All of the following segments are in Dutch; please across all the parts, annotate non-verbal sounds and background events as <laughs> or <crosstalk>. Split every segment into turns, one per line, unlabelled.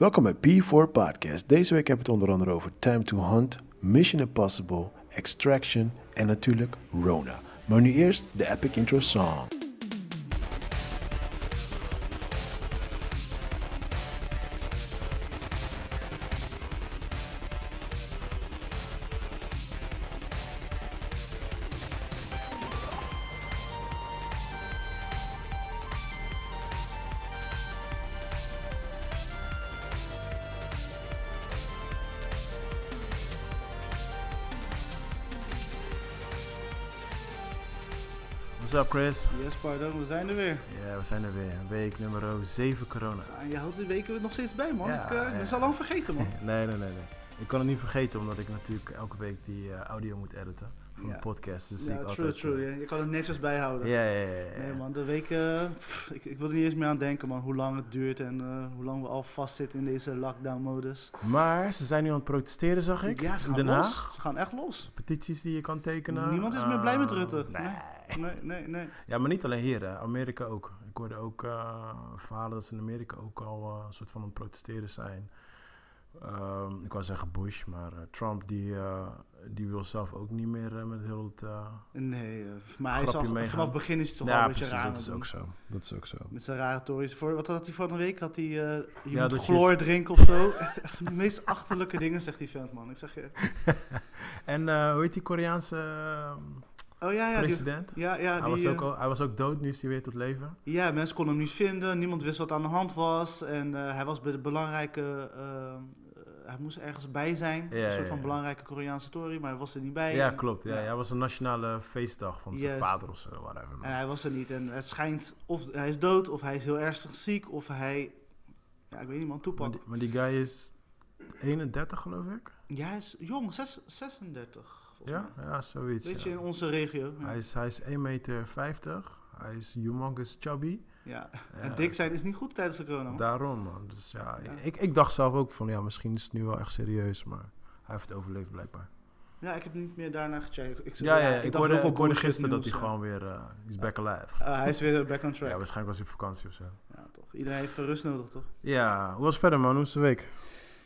Welkom bij P4 Podcast. Deze week hebben we het onder andere over Time to Hunt, Mission Impossible, Extraction en natuurlijk Rona. Maar nu eerst de epic intro song.
What's up, Chris?
Yes, pardon, we zijn er weer.
Ja, we zijn er weer. Week nummer 7 corona.
Je houdt de weken nog steeds bij, man.
Ja,
ik eh, ik
ja.
ben ze al lang
<laughs>
vergeten, man.
Nee, nee, nee, nee. Ik kon het niet vergeten, omdat ik natuurlijk elke week die eh, audio moet editen. Voor
Ja.
een podcast. Dus zie
ja,
ik
true,
altijd,
true.
eh,
ja. Je kan het netjes bijhouden.
Ja, ja, ja. ja.
Nee, man, de weken. pff, ik, ik wil er niet eens meer aan denken, man. Hoe lang het duurt en eh, hoe lang we al vastzitten in deze lockdown-modus.
Maar ze zijn nu aan het protesteren, zag ik.
Ja, ze
in
gaan
Den
los.
Haag.
Ze gaan echt los.
Petities die je kan tekenen.
Niemand is meer blij met
Eh,
Rutte.
Nee.
Nee, nee, nee.
Ja, maar niet alleen hier, hè. Amerika ook. Ik hoorde ook eh, verhalen dat ze in Amerika ook al eh, een soort van aan het protesteren zijn. Ehm, ik wou zeggen Bush, maar eh, Trump die, eh, die wil zelf ook niet meer eh, met heel het... eh,
Nee, eh, maar hij is
Grapje
al,
meegaan.
vanaf het begin is hij toch al een beetje raar. aan
dat is
het doen.
ook zo. Dat is ook zo.
Met zijn rare tories. Voor, wat had hij vorige week? Had hij, eh je
Ja, dat
moet
je-
chloor drinken of zo. <laughs> Echt de meest achterlijke dingen zegt die vent, man. Ik zeg je.
En eh, hoe heet die Koreaanse ehm,
Oh ja, ja. Die,
president?
ja, ja,
hij,
die,
was ook
eh,
al, hij was ook dood, nu is hij weer tot leven.
ja, mensen konden hem niet vinden. Niemand wist wat aan de hand was. En eh, hij was bij de belangrijke... eh, eh, hij moest ergens bij zijn.
Ja,
een soort
ja,
van
ja.
belangrijke Koreaanse tory, maar hij was er niet bij.
ja,
En-
klopt. Ja,
ja.
ja. Hij was een nationale feestdag van zijn
Juist.
vader of zo, whatever.
En hij was er niet. En het schijnt of hij is dood, of hij is heel ernstig ziek, of hij... Ja, ik weet niet, man.
maar,
Toepak.
die, maar die guy is 31, geloof ik.
Ja, hij is jong. zes- 36, volgens
Ja,
mij.
ja zoiets.
Weet
ja.
je, in onze regio. Ja.
Hij is, hij is 1,50 meter. Hij is humongous chubby.
Ja,
Ja,
en dik zijn is niet goed tijdens de corona. man.
Daarom, man. Dus ja,
Ja.
Ik, ik dacht zelf ook van, ja, misschien is het nu wel echt serieus, maar hij heeft het overleefd blijkbaar.
Ja, ik heb niet meer daarna gecheckt. Ik,
Ja, ja, ik, hoorde,
dacht heel veel
ik hoorde
bullshit
gisteren dat hij
nieuws, ja.
gewoon weer, eh is back alive.
Eh, hij is weer back on track.
Ja,
Ja,
waarschijnlijk was hij op vakantie of zo.
toch. Iedereen heeft eh, rust nodig, toch?
Ja, hoe was het verder man? Hoe is de week?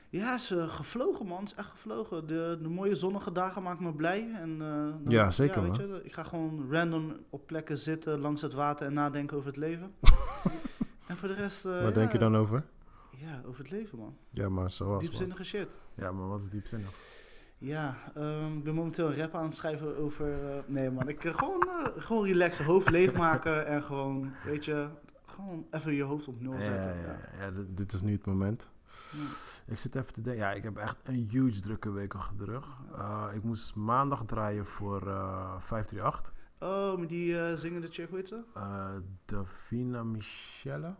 Ja, is eh, gevlogen, man. is echt gevlogen. De, de mooie zonnige dagen maken me blij. En, eh, dan-
Ja, zeker,
weet
man.
je, ik ga gewoon random op plekken zitten langs het water en nadenken over het
<laughs>
leven. en voor de rest... eh,
Waar
ja,
denk je dan over?
Ja, over het leven, man.
Ja, maar zoals wat.
Diepzinnige shit.
Ja, maar wat is diepzinnig?
Ja, ehm, ik ben momenteel een rap aan het schrijven over... eh, nee man, ik eh, gewoon, eh, gewoon relaxen, hoofd leegmaken en gewoon, weet je... Gewoon even je hoofd op nul
Ja,
zetten.
ja, ja, ja, dit, dit is nu het moment. Ik zit even te denken. Ja, ik heb echt een huge drukke week achter de rug. Eh, ik moest maandag draaien voor eh 538.
Oh, maar die eh, zingende chick, hoe heet ze?
Eh Davina Michelle,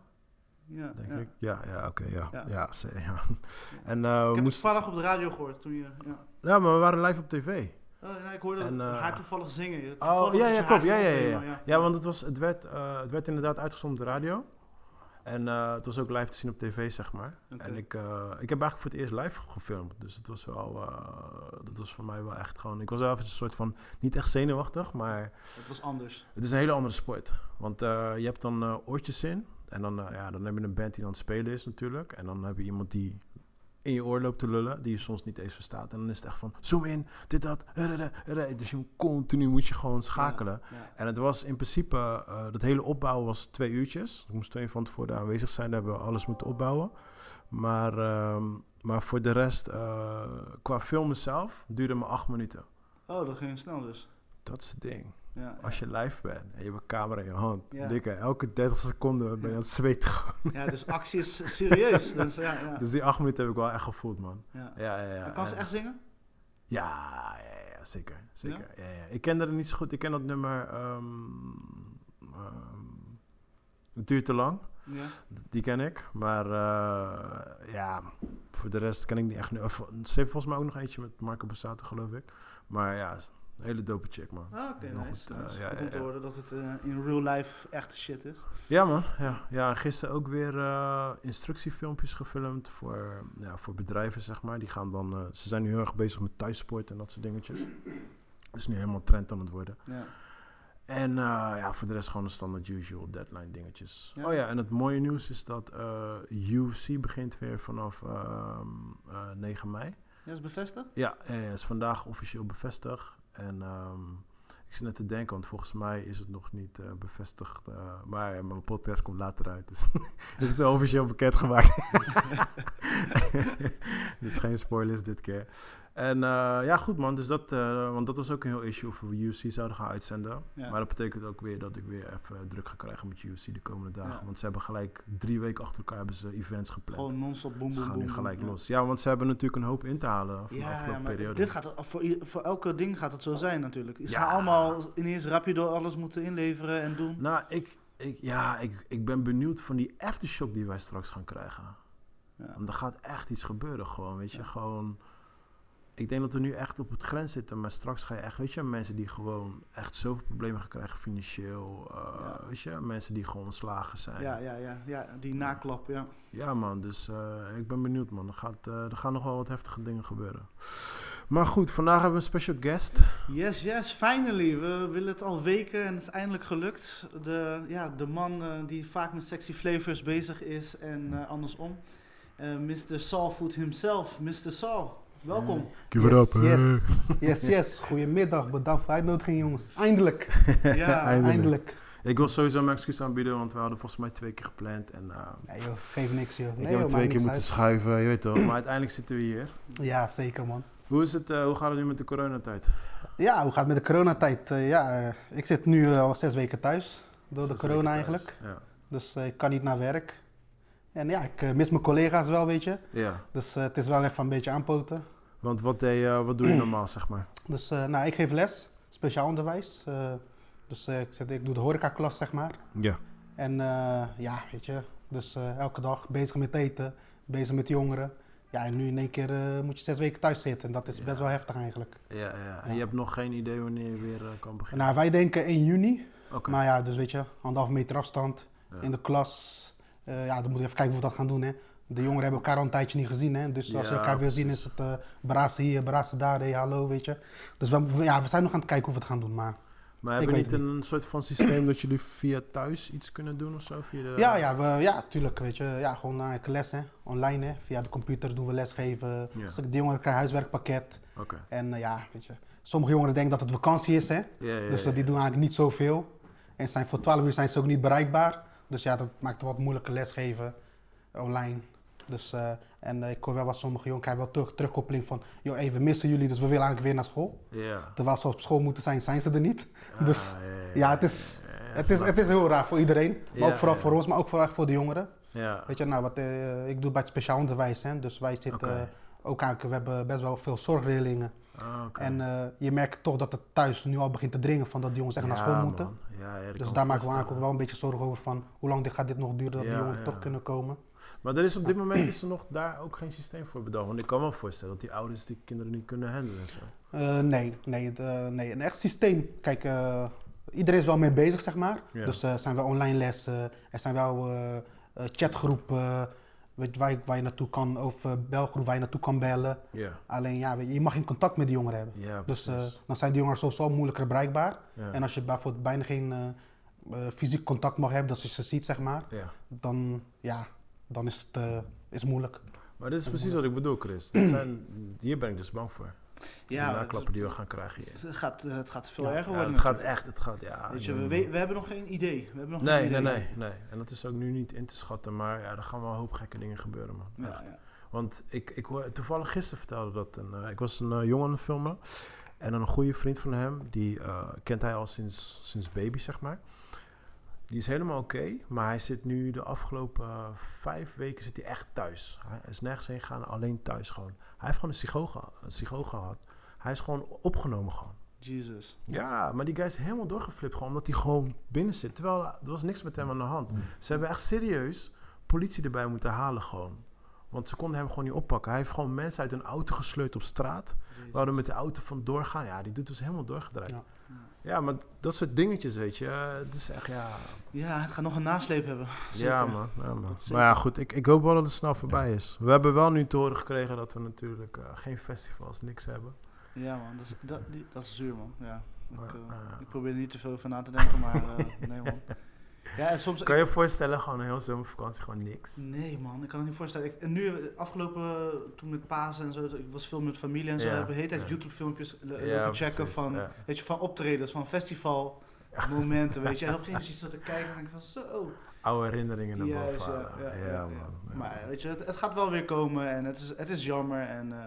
Ja,
denk
ja.
ik. Ja, ja, oké, ja. Ja,
Ja.
ze- ja. <laughs> En eh,
Ik
we
heb het
moesten...
toevallig op de radio gehoord toen je... Ja.
Ja, maar we waren live op tv.
Oh, nee, ik hoorde
En, eh,
haar toevallig zingen.
Oh,
Toevallig
ja, ja,
dat je
klopt.
haar
Ja, ja,
hoorde,
ja,
maar
ja. Ja, want het, was, het, werd, eh, het werd inderdaad uitgezonden op de radio. En eh, het was ook live te zien op tv, zeg maar.
Oké.
En ik, eh, ik heb eigenlijk voor het eerst live gefilmd. Dus het was wel, eh, dat was voor mij wel echt gewoon... Ik was wel even een soort van, niet echt zenuwachtig, maar
Het was anders.
het is een hele andere sport. Want eh, je hebt dan eh, oortjes in. En dan, eh, ja, dan heb je een band die aan het spelen is natuurlijk. En dan heb je iemand die in je oor loopt te lullen, die je soms niet eens verstaat. En dan is het echt van, zoom in, dit, dat, rrrr, rrrr. Dus je continu moet je gewoon schakelen.
Ja.
En het was in principe, eh, dat hele opbouwen was twee uurtjes. Ik moest twee van tevoren aanwezig zijn, daar hebben we alles moeten opbouwen. Maar, ehm, maar voor de rest, eh, qua filmen zelf, duurde maar acht minuten.
Oh, dat ging snel dus.
Dat is het ding.
Ja,
Als je live bent en je hebt een camera in je hand,
Ja.
dikke, elke 30 seconden ben je
Ja.
aan het zweten.
ja dus actie
<laughs>
is serieus. Dus, ja, ja,
Dus die acht minuten heb ik wel echt gevoeld, man.
ja.
Ja, ja, ja.
En Kan ze
En-
echt zingen?
Ja, ja, ja, zeker. zeker. Ja? Ja, Ik kende het niet zo goed. Ik ken dat nummer. ehm, ehm, het duurt te lang.
Ja.
Die ken ik. Maar eh, ja, voor de rest ken ik niet echt. nu- of, Ze heeft volgens mij ook nog eentje met Marco Bassato, geloof ik. Maar ja, is een hele dope chick, man.
Ah, oké,
Heel goed,
nice.
eh,
nice.
ja,
Goed
ja,
om te
ja.
horen dat het eh, in real life echte shit is.
Ja, man. Ja, ja en gisteren ook weer eh, instructiefilmpjes gefilmd voor, ja, voor bedrijven, zeg maar. Die gaan dan, eh, ze zijn nu heel erg bezig met thuissport en dat soort dingetjes. Dat is nu helemaal trend aan het worden.
Ja.
En eh, ja, voor de rest gewoon de standaard usual deadline dingetjes.
Ja.
Oh ja, en het mooie nieuws is dat eh UFC begint weer vanaf ehm, eh, 9 mei.
Ja, is bevestigd?
Ja, eh, is vandaag officieel bevestigd. En ehm, ik zit net te denken, want volgens mij is het nog niet eh, bevestigd. eh, maar ja, mijn podcast komt later uit, dus <laughs> is het wel officieel bekend gemaakt. <laughs> dus geen spoilers dit keer. En eh, ja, goed man, dus dat, eh, want dat was ook een heel issue voor we UFC zouden gaan uitzenden.
Ja.
Maar dat betekent ook weer dat ik weer even eh, druk ga krijgen met UFC de komende dagen.
Ja.
Want ze hebben gelijk drie weken achter elkaar hebben ze events gepland.
Gewoon non-stop boom,
Ze
boom,
gaan nu
boom, boom,
gelijk
ja.
los. Ja, want ze hebben natuurlijk een hoop in te halen van de
Ja, ja,
afgelopen
maar
periode.
dit gaat voor, i- voor elke ding gaat het zo zijn natuurlijk. Ze
Ja.
gaan allemaal ineens rapido alles moeten inleveren en doen.
Nou, ik, ik, ja, ik, ik ben benieuwd van die aftershock die wij straks gaan krijgen.
Ja.
Want er gaat echt iets gebeuren gewoon, weet je. Gewoon, ik denk dat we nu echt op het grens zitten. Maar straks ga je echt, weet je, mensen die gewoon echt zoveel problemen gaan krijgen financieel. eh,
Ja.
Weet je, mensen die gewoon ontslagen zijn.
Ja, ja, ja, ja, die naklap, ja.
Ja, man, dus eh, ik ben benieuwd, man. Er, gaat, eh, er gaan nog wel wat heftige dingen gebeuren. Maar goed, vandaag hebben we een special guest.
Yes, yes, finally. We willen het al weken en het is eindelijk gelukt. De, ja, de man eh, die vaak met sexy flavors bezig is en eh, andersom. Eh Mr. Saul Food himself, Mr. Saul. Welkom.
Give
yes, yes, yes, yes. Goedemiddag, bedankt voor uitnodiging jongens. Eindelijk,
<laughs>
Ja,
Eindelijk.
eindelijk.
Ik wil sowieso mijn excuus aanbieden, want we hadden volgens mij twee keer gepland. En, eh,
Nee joh, geef niks joh. Nee,
ik heb
joh,
het
maakt
twee keer
niks
moeten schuiven, je weet toch. Maar uiteindelijk zitten we hier.
uit. Ja, zeker man.
Hoe, is het, eh, hoe gaat het nu met de coronatijd?
Ja, hoe gaat het met de coronatijd? Eh, ja, eh, ik zit nu eh, al zes weken thuis, door
Zes
de corona
weken
eigenlijk.
thuis. Ja.
Dus eh, ik kan niet naar werk. En ja, ik eh, mis mijn collega's wel, weet je.
ja,
Dus eh, het is wel even een beetje aanpoten.
want wat, deed, je- wat doe je normaal, zeg maar?
Dus eh, nou, ik geef les, speciaal onderwijs. Eh, dus eh, ik, zit, ik doe de horecaklas, zeg maar.
Ja.
En eh, ja, weet je, dus eh, elke dag bezig met eten, bezig met jongeren. Ja, en nu in één keer eh, moet je zes weken thuis zitten. En dat is
Ja.
best wel heftig eigenlijk.
Ja, ja. En
Ja.
je hebt nog geen idee wanneer je weer eh, kan beginnen?
Nou, wij denken 1 juni.
Oké.
Maar ja, dus weet je, anderhalve meter afstand
Ja.
in de klas. Eh, ja, dan moeten we even kijken hoe we dat gaan doen, hè. De jongeren hebben elkaar al een tijdje niet gezien, hè. Dus als je
Ja,
elkaar wil zien, is het eh brazen hier, brazen daar, hey, hallo, weet je. Dus we, we- ja, we zijn nog aan het kijken hoe we het gaan doen, maar...
Maar
ik
hebben
weet
niet
het
een soort van systeem dat jullie via thuis iets kunnen doen of zo? Via de...
Ja, ja, we, ja, tuurlijk, weet je. Ja, gewoon eh, les, hè. Online, hè. Via de computer doen we lesgeven.
Ja.
Dus de jongeren krijgen huiswerkpakket.
Oké.
En eh, ja, weet je. Sommige jongeren denken dat het vakantie is, hè.
Ja, ja,
Dus eh,
ja,
die
ja.
doen eigenlijk niet zoveel. En zijn, voor 12 uur zijn ze ook niet bereikbaar. Dus ja, dat maakt het wat moeilijker lesgeven eh, online. Dus, eh, en eh, ik hoor wel wat sommige jongeren krijgen wel terug, terugkoppeling van... joh, hey, we missen jullie, dus we willen eigenlijk weer naar school.
Ja.
Terwijl ze op school moeten zijn, zijn ze er niet. <laughs> Dus
Ah,
ja, het is-
ja, ja, ja,
het, is, het is heel raar voor iedereen. Maar
Ja,
ook vooral
ja.
voor ons, maar ook vooral voor de jongeren.
Ja.
Weet je, nou, wat eh, ik doe bij het speciaal onderwijs, hè, dus wij zitten
Oké.
eh, ook aan, we hebben best wel veel zorgleerlingen.
Ah, oké.
En eh, je merkt toch dat het thuis nu al begint te dringen van dat die jongens echt naar school
Ja,
moeten.
man. Ja, ja, dat kan
Dus
me
daar maken we
voorstellen.
eigenlijk ook wel een beetje zorgen over van hoe lang dit gaat dit nog duren dat
Ja,
die jongens
ja.
toch kunnen komen.
Maar er is
<clears throat>
op dit moment is er nog daar ook geen systeem voor bedacht. Want ik kan me wel voorstellen dat die ouders die kinderen niet kunnen handelen en zo.
Eh, nee, nee, het, eh, nee, een echt systeem. Kijk, eh, iedereen is wel mee bezig, zeg maar.
Ja.
Dus eh, er zijn wel online lessen, er zijn wel eh, eh, chatgroepen weet, je, waar, je- waar je naartoe kan, of eh, belgroep waar je naartoe kan bellen.
Ja.
Alleen ja, weet je, je mag geen contact met die jongeren hebben.
Ja,
Dus eh,
precies.
dan zijn die jongeren sowieso moeilijker bereikbaar.
eh,
ja.
En als je bijvoorbeeld bijna geen eh, eh, fysiek contact mag hebben, dat je ze ziet, zeg maar,
ja.
dan, ja, dan is het eh, is moeilijk.
Maar dit is precies wat ik bedoel,
<clears throat>
Chris. Dit zijn, hier ben ik dus bang voor.
ja
de
het,
naklappen die we gaan krijgen hier.
het gaat, eh, het gaat veel
Ja,
erger
Ja,
worden.
het gaat
natuurlijk.
echt, het gaat, ja.
Weet
ik
je, we,
weet-
we, we hebben nog geen idee. We hebben nog
Nee,
geen
nee,
idee.
nee, nee. En dat is ook nu niet in te schatten, maar ja, er gaan wel een hoop gekke dingen gebeuren, man. Echt.
Ja, ja.
Want ik, ik hoor, toevallig gisteren vertelde dat een, eh, ik was een eh, jongen aan het filmen. En een goede vriend van hem, die eh, kent hij al sinds, sinds baby, zeg maar. Die is helemaal oké, maar hij zit nu de afgelopen eh, vijf weken zit hij echt thuis. Hij is nergens heen gegaan, alleen thuis gewoon. Hij heeft gewoon een psycho, geha- een psycho gehad. Hij is gewoon opgenomen gewoon.
Jesus.
Ja, maar die guy is helemaal doorgeflipt gewoon omdat hij gewoon binnen zit. Terwijl er was niks met hem aan de hand.
Mm.
Ze hebben echt serieus politie erbij moeten halen gewoon. Want ze konden hem gewoon niet oppakken. Hij heeft gewoon mensen uit een auto gesleurd op straat.
Jezus.
We hadden met de auto vandoor gaan. Ja, die doet dus helemaal doorgedraaid. Ja.
Ja.
maar dat soort dingetjes, weet je. eh, Het is echt, ja...
Ja, het gaat nog een nasleep hebben. Zeker.
Ja, man. Ja, man.
Dat
Maar ja, goed. Ik, ik hoop wel dat het snel voorbij is. We hebben wel nu te horen gekregen dat we natuurlijk eh, geen festivals, niks hebben.
Ja, man. Dat is, dat, die- dat is zuur, man. Ja. Ik, eh,
Ah.
ik probeer er niet te veel over na te denken, maar eh, nee
<laughs>
man. Ja, en soms...
Kan je je voorstellen, gewoon een heel zomervakantie, gewoon niks?
Nee man, ik kan het niet voorstellen. Ik- en nu, eh, afgelopen, eh, toen met Pasen en zo, ik was veel met familie en zo,
Ja,
hebben de hele tijd
ja.
YouTube filmpjes lopen
Ja,
checken
precies,
van,
ja.
weet je, van optredens, van festivalmomenten, weet
<laughs>
je. En op een gegeven moment zit je zo te kijken en denk ik van zo.
Oude herinneringen naar
Juist,
boven
ja,
halen.
ja,
Ja,
ja,
man. ja.
Maar weet je, het, het gaat wel weer komen en het is, het is jammer en eh,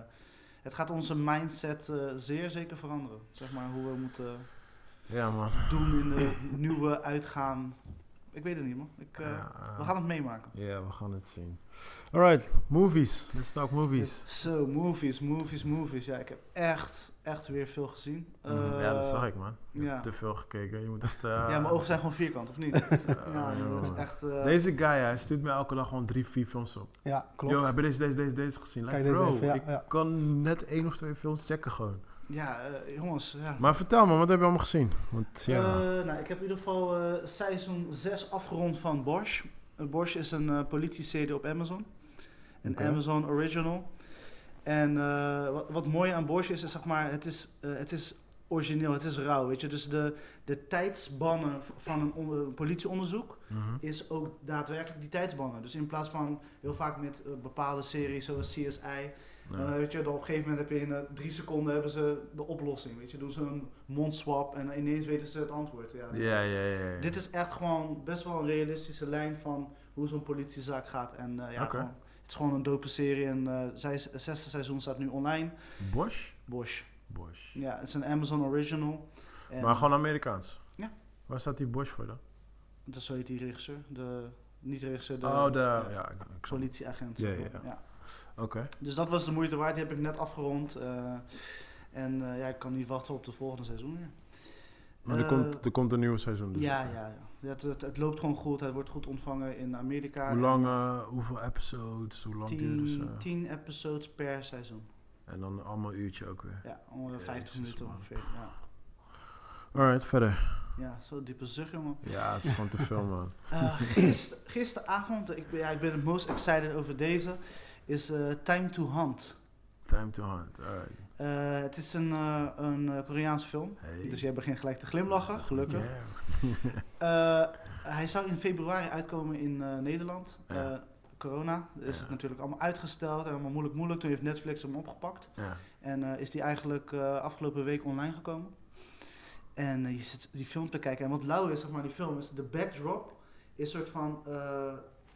het gaat onze mindset eh, zeer zeker veranderen. Zeg maar hoe we moeten
Ja, man.
doen in de nieuwe uitgaan. Ik weet het niet man. Ik, eh,
Ja, eh,
We gaan het meemaken.
Ja, we gaan het zien. Alright, movies. Let's talk movies.
Zo, movies, movies, movies. Ja, ik heb echt, echt weer veel gezien.
Mhm, ja, dat
Eh,
zag ik, man. Je
ja.
hebt te veel gekeken. Je moet echt... eh,
Ja, mijn ogen zijn gewoon vierkant, of niet? <laughs>
eh,
ja,
ja,
dat is
man.
echt... eh,
Deze guy, hij stuurt mij elke dag gewoon drie, vier films op.
Ja, klopt.
Yo, heb je deze, deze, deze, deze gezien? Like,
Kijk deze
bro,
even, ja,
ik
ja.
kan net één of twee films checken gewoon.
Ja, eh, jongens, ja.
Maar vertel me, wat heb je allemaal gezien? Want ja,
Eh, nou, ik heb in ieder geval eh seizoen 6 afgerond van Bosch. Eh, Bosch is een eh politie-serie op Amazon. Een
Oké.
Amazon Original. En eh, wat, wat mooi aan Bosch is, is zeg maar, het is, eh, het is origineel, het is rauw, weet je. Dus de, de tijdsbannen v- van een on- een politieonderzoek
mhm.
is ook daadwerkelijk die tijdsbannen. Dus in plaats van heel vaak met eh, bepaalde series zoals CSI,
Ja.
eh, weet je, dan op een gegeven moment heb je in eh, drie seconden hebben ze de oplossing. Weet je, doen ze een mondswap en ineens weten ze het antwoord. Ja.
ja, ja, ja, ja.
Dit is echt gewoon best wel een realistische lijn van hoe zo'n politiezaak gaat. En eh, ja,
Oké.
gewoon, het is gewoon een dope serie en eh zij, het zesde seizoen staat nu online.
Bosch?
Bosch.
Bosch.
Ja, het is een Amazon original. En
Maar gewoon Amerikaans?
Ja.
Waar staat die Bosch voor dan?
dat zo heet die regisseur. De, niet regisseur, de,
oh, de...
ja,
Ja, ik- ik snap.
politieagent.
Ja, ja, ja. Oké.
Dus dat was de moeite waard, die heb ik net afgerond. eh, en eh, ja, ik kan niet wachten op de volgende seizoen weer.
Maar er,
Eh,
komt, er komt een nieuwe seizoen dus.
Ja, ja, ja. Het, het, het loopt gewoon goed. Het wordt goed ontvangen in Amerika.
Hoe lang, eh, hoeveel episodes, hoe lang duurt eh?
Tien,
ze?
tien episodes per seizoen.
En dan allemaal een uurtje ook weer.
Ja, ongeveer 50
Jezus,
minuten
man.
ongeveer. Ja.
Alright, verder.
ja, zo diepe zucht, jongen.
Ja, het is gewoon te veel, man.
Eh, gister-
<laughs>
gisteravond, ik ben, ja, ik ben het most excited over deze, is eh, Time to Hunt.
Time to hunt. Alright.
Eh, het is een, eh, een eh, Koreaanse film.
Hey.
Dus jij begint gelijk te glimlachen, gelukkig.
Ja.
Eh, hij zou in februari uitkomen in eh, Nederland.
Ja.
Eh, corona is
Ja.
het natuurlijk allemaal uitgesteld en allemaal moeilijk moeilijk. Toen heeft Netflix hem opgepakt.
Ja.
En eh, is die eigenlijk eh, afgelopen week online gekomen. En eh, je zit die film te kijken. En wat lauw is, zeg maar, die film is de backdrop. Is soort van eh,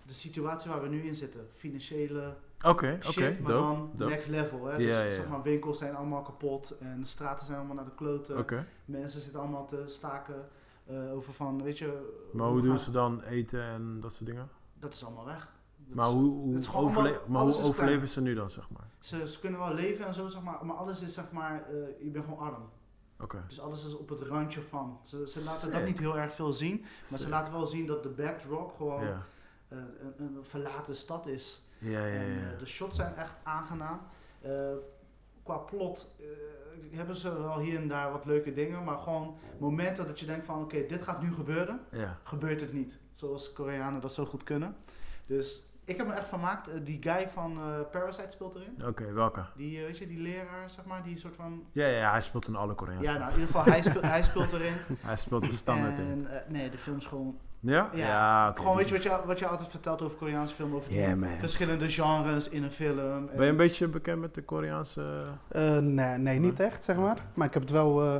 de situatie waar we nu in zitten. Financiële
Oké, oké.
shit, maar dan
Dope. dope.
next level. Hè?
Ja,
Dus
ja, ja.
zeg maar, winkels zijn allemaal kapot en de straten zijn allemaal naar de kloten.
Oké.
Mensen zitten allemaal te staken eh, over van, weet je...
Maar
we
hoe doen
gaan-
ze dan eten en dat soort dingen?
Dat is allemaal weg. Dat
Maar
is-
hoe, hoe,
het is gewoon
overle-
allemaal-
maar
alles
hoe
is
overleven ze nu dan, zeg maar?
ze, ze kunnen wel leven en zo, zeg maar, maar alles is zeg maar, eh, je bent gewoon arm.
Oké.
Dus alles is op het randje van. Ze, ze laten dat
Sick.
niet heel erg veel zien, maar ze
Sick.
laten wel zien dat de backdrop gewoon
Ja.
eh, een, een verlaten stad is.
Ja, ja,
En
ja.
eh, de shots zijn echt aangenaam. Eh, qua plot eh, hebben ze wel hier en daar wat leuke dingen, maar gewoon momenten dat je denkt van oké, dit gaat nu gebeuren,
Ja.
gebeurt het niet. Zoals Koreanen dat zo goed kunnen. Dus ik heb me echt vermaakt. Eh, die guy van eh, Parasite speelt erin.
Oké, welke?
Die, eh, weet je, die leraar, zeg maar, die soort van...
Ja, ja, hij speelt in alle Koreaanse
Ja, nou, in ieder geval, hij, speelt, hij speelt erin.
<laughs> Hij speelt de standaard in.
en, eh, nee, de film is gewoon...
eh,
Ja?
ja.
Ja, oké.
gewoon, weet je,
die-
wat je, wat je altijd vertelt over Koreaanse film, over die
Yeah, man.
verschillende genres in een film. en-
Ben je een beetje bekend met de Koreaanse...
Eh, nee, nee, niet echt, zeg maar. Maar ik heb het wel, eh,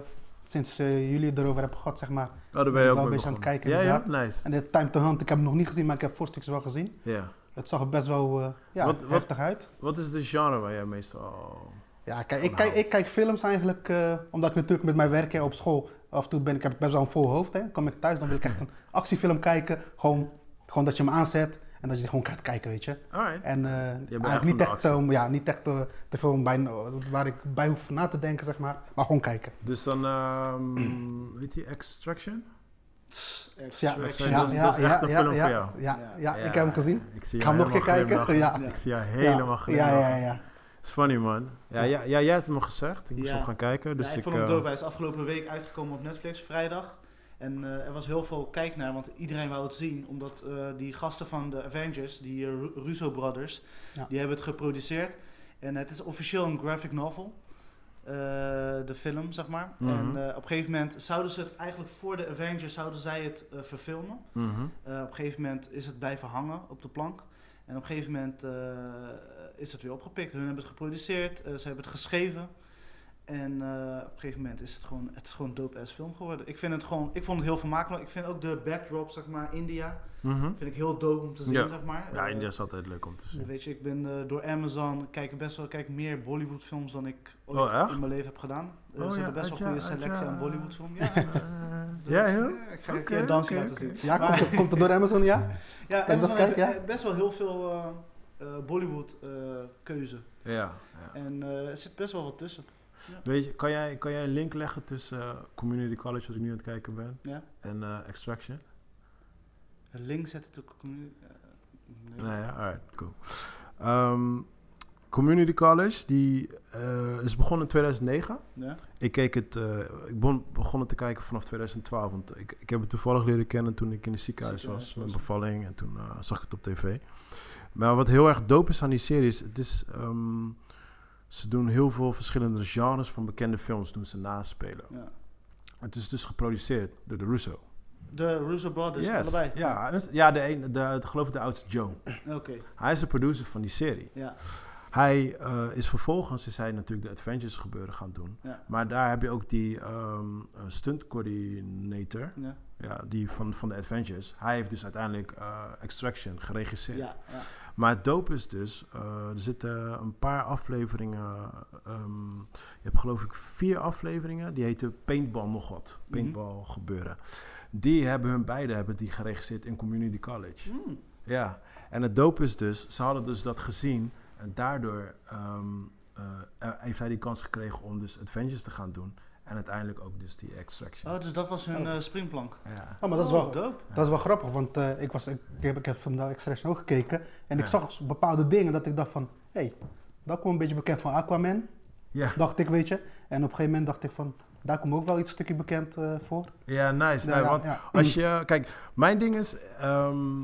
sinds eh, jullie het erover hebben gehad, zeg maar.
Oh, daar ben
ben
je ook
wel een
mee
beetje aan het
begonnen.
kijken,
Ja, ja,
inderdaad.
nice.
En dit Time to Hunt, ik heb hem nog niet gezien, maar ik heb voorstuks wel gezien.
Ja.
Het zag er best wel eh, ja,
Wat- wat-
heftig uit.
Wat is de genre waar jij meestal...
Ja, kijk,
Oh,
ik,
nou.
kijk, ik kijk films eigenlijk, eh, omdat ik natuurlijk met mijn werk hè, op school, af en toe ben ik, heb ik best wel een vol hoofd. Hè. Kom ik thuis, dan wil ik
<laughs>
echt een actiefilm kijken. Gewoon, gewoon dat je hem aanzet en dat je die gewoon gaat kijken, weet je.
Oh, Alright.
En eh,
echt
eigenlijk
van
niet
de
echt,
actie.
eh, ja, niet echt eh, te veel om bij, waar ik bij hoef na te denken, zeg maar. Maar gewoon kijken.
Dus dan, ehm weet je, Extraction?
Tss,
Ja,
dat
extraction.
Dus is- dat is- dat is echt een film
ja,
voor jou.
Ja,
Ja.
ja, Ah, ik heb hem gezien.
Ik zie
Ik ga hem
jou
nog een keer
helemaal
kijken.
glimlachen.
Ja.
Ik zie jou helemaal
ja,
glimlachen.
ja, ja, ja.
It's funny, man. Ja, ja, ja, jij hebt hem al gezegd. Ik moest
Ja.
hem gaan kijken. Dus
Ja, ik
ik,
vond hem
eh,
dope. Hij is afgelopen week uitgekomen op Netflix, vrijdag. En eh, er was heel veel kijk naar, want iedereen wou het zien. Omdat eh, die gasten van de Avengers, die eh, Ru- Russo Brothers,
Ja.
die hebben het geproduceerd. En het is officieel een graphic novel. Eh, eh, de film, zeg maar.
Mhm.
En eh, op een gegeven moment zouden ze het eigenlijk voor de Avengers zouden zij het eh, verfilmen.
Mhm.
Eh, op een gegeven moment is het blijven hangen op de plank. En op een gegeven moment eh, is het weer opgepikt. Hun hebben het geproduceerd, eh, ze hebben het geschreven. En eh, op een gegeven moment is het gewoon, het is gewoon dope ass film geworden. Ik vind het gewoon, ik vond het heel vermakelijk. Ik vind ook de backdrop, zeg maar, India,
Mhm.
vind ik heel dope om te zien,
Ja.
zeg maar.
Ja,
Eh,
India is altijd leuk om te zien.
Weet je, ik ben eh, door Amazon, kijk best wel kijk meer Bollywood films dan ik ooit
Oh, echt?
in mijn leven heb gedaan. Eh,
Oh,
ze
ja,
hebben best wel
uit jou-
een goede
uit
selectie
jou-
aan Bollywood films. Ja, dus,
<laughs> Ja, heel?
eh, Ik ga je een
Oké,
keer een dansje
oké,
laten
oké.
zien.
Ja,
Maar-
komt, het- komt het door Amazon, ja?
Ja,
Kan je
Amazon
dat kijken,
heeft eh, best wel heel veel eh, eh, Bollywood eh, keuze.
Ja, ja.
En eh, er zit best wel wat tussen.
Weet je, kan jij, kan jij een link leggen tussen eh, Community College, wat ik nu aan het kijken ben,
Ja.
en eh, Extraction?
En links zet het ook... eh, nee.
Nou ja, alright, cool. Ehm, Community College, die eh, is begonnen in 2009.
Ja?
Ik, keek het, eh, ik bon- begon het te kijken vanaf 2012, want ik, ik heb het toevallig leren kennen toen ik in het ziekenhuis was,
Ziekenhuis
met
was.
bevalling, en toen eh, zag ik het op tv. Maar wat heel erg dope is aan die serie is, het is ehm, ze doen heel veel verschillende genres van bekende films, doen ze naspelen.
Ja.
Het is dus geproduceerd door de Russo.
De Russo Brothers, allebei?
Ja, dus- ja de een, de, ik geloof de oudste Joe.
Oké,
Hij is de producer van die serie.
ja.
Hij eh, is vervolgens, is hij natuurlijk de Adventures gebeuren gaan doen.
Ja.
Maar daar heb je ook die ehm stunt coordinator,
Ja.
ja, die van, van de Adventures. Hij heeft dus uiteindelijk eh, Extraction
Ja,
geregisseerd.
ja.
Maar het dope is dus, eh, er zitten een paar afleveringen. ehm, je hebt geloof ik vier afleveringen. Die heten Paintball nog wat.
Mhm.
Paintball gebeuren. Die hebben hun beide hebben die geregisseerd in Community College.
Mm.
Ja. En het dope is dus, ze hadden dus dat gezien. En daardoor ehm, eh, eh, heeft hij die kans gekregen om dus Adventures te gaan doen. En uiteindelijk ook dus die Extraction.
Oh, dus dat was hun
Oh.
eh, springplank.
Ja.
Oh, maar dat is
Oh,
wel,
dope.
dat is wel grappig, want eh, ik, was, ik, ik heb, ik heb film daar extra ook gekeken. En ik
Ja.
zag s- bepaalde dingen dat ik dacht van, hé, hey, dat komt een beetje bekend van Aquaman.
Ja.
Dacht ik, weet je. En op een gegeven moment dacht ik van, daar komt ook wel iets stukje bekend eh, voor.
ja, nice. Nee, want
ja.
Als je, kijk, mijn ding is, ehm,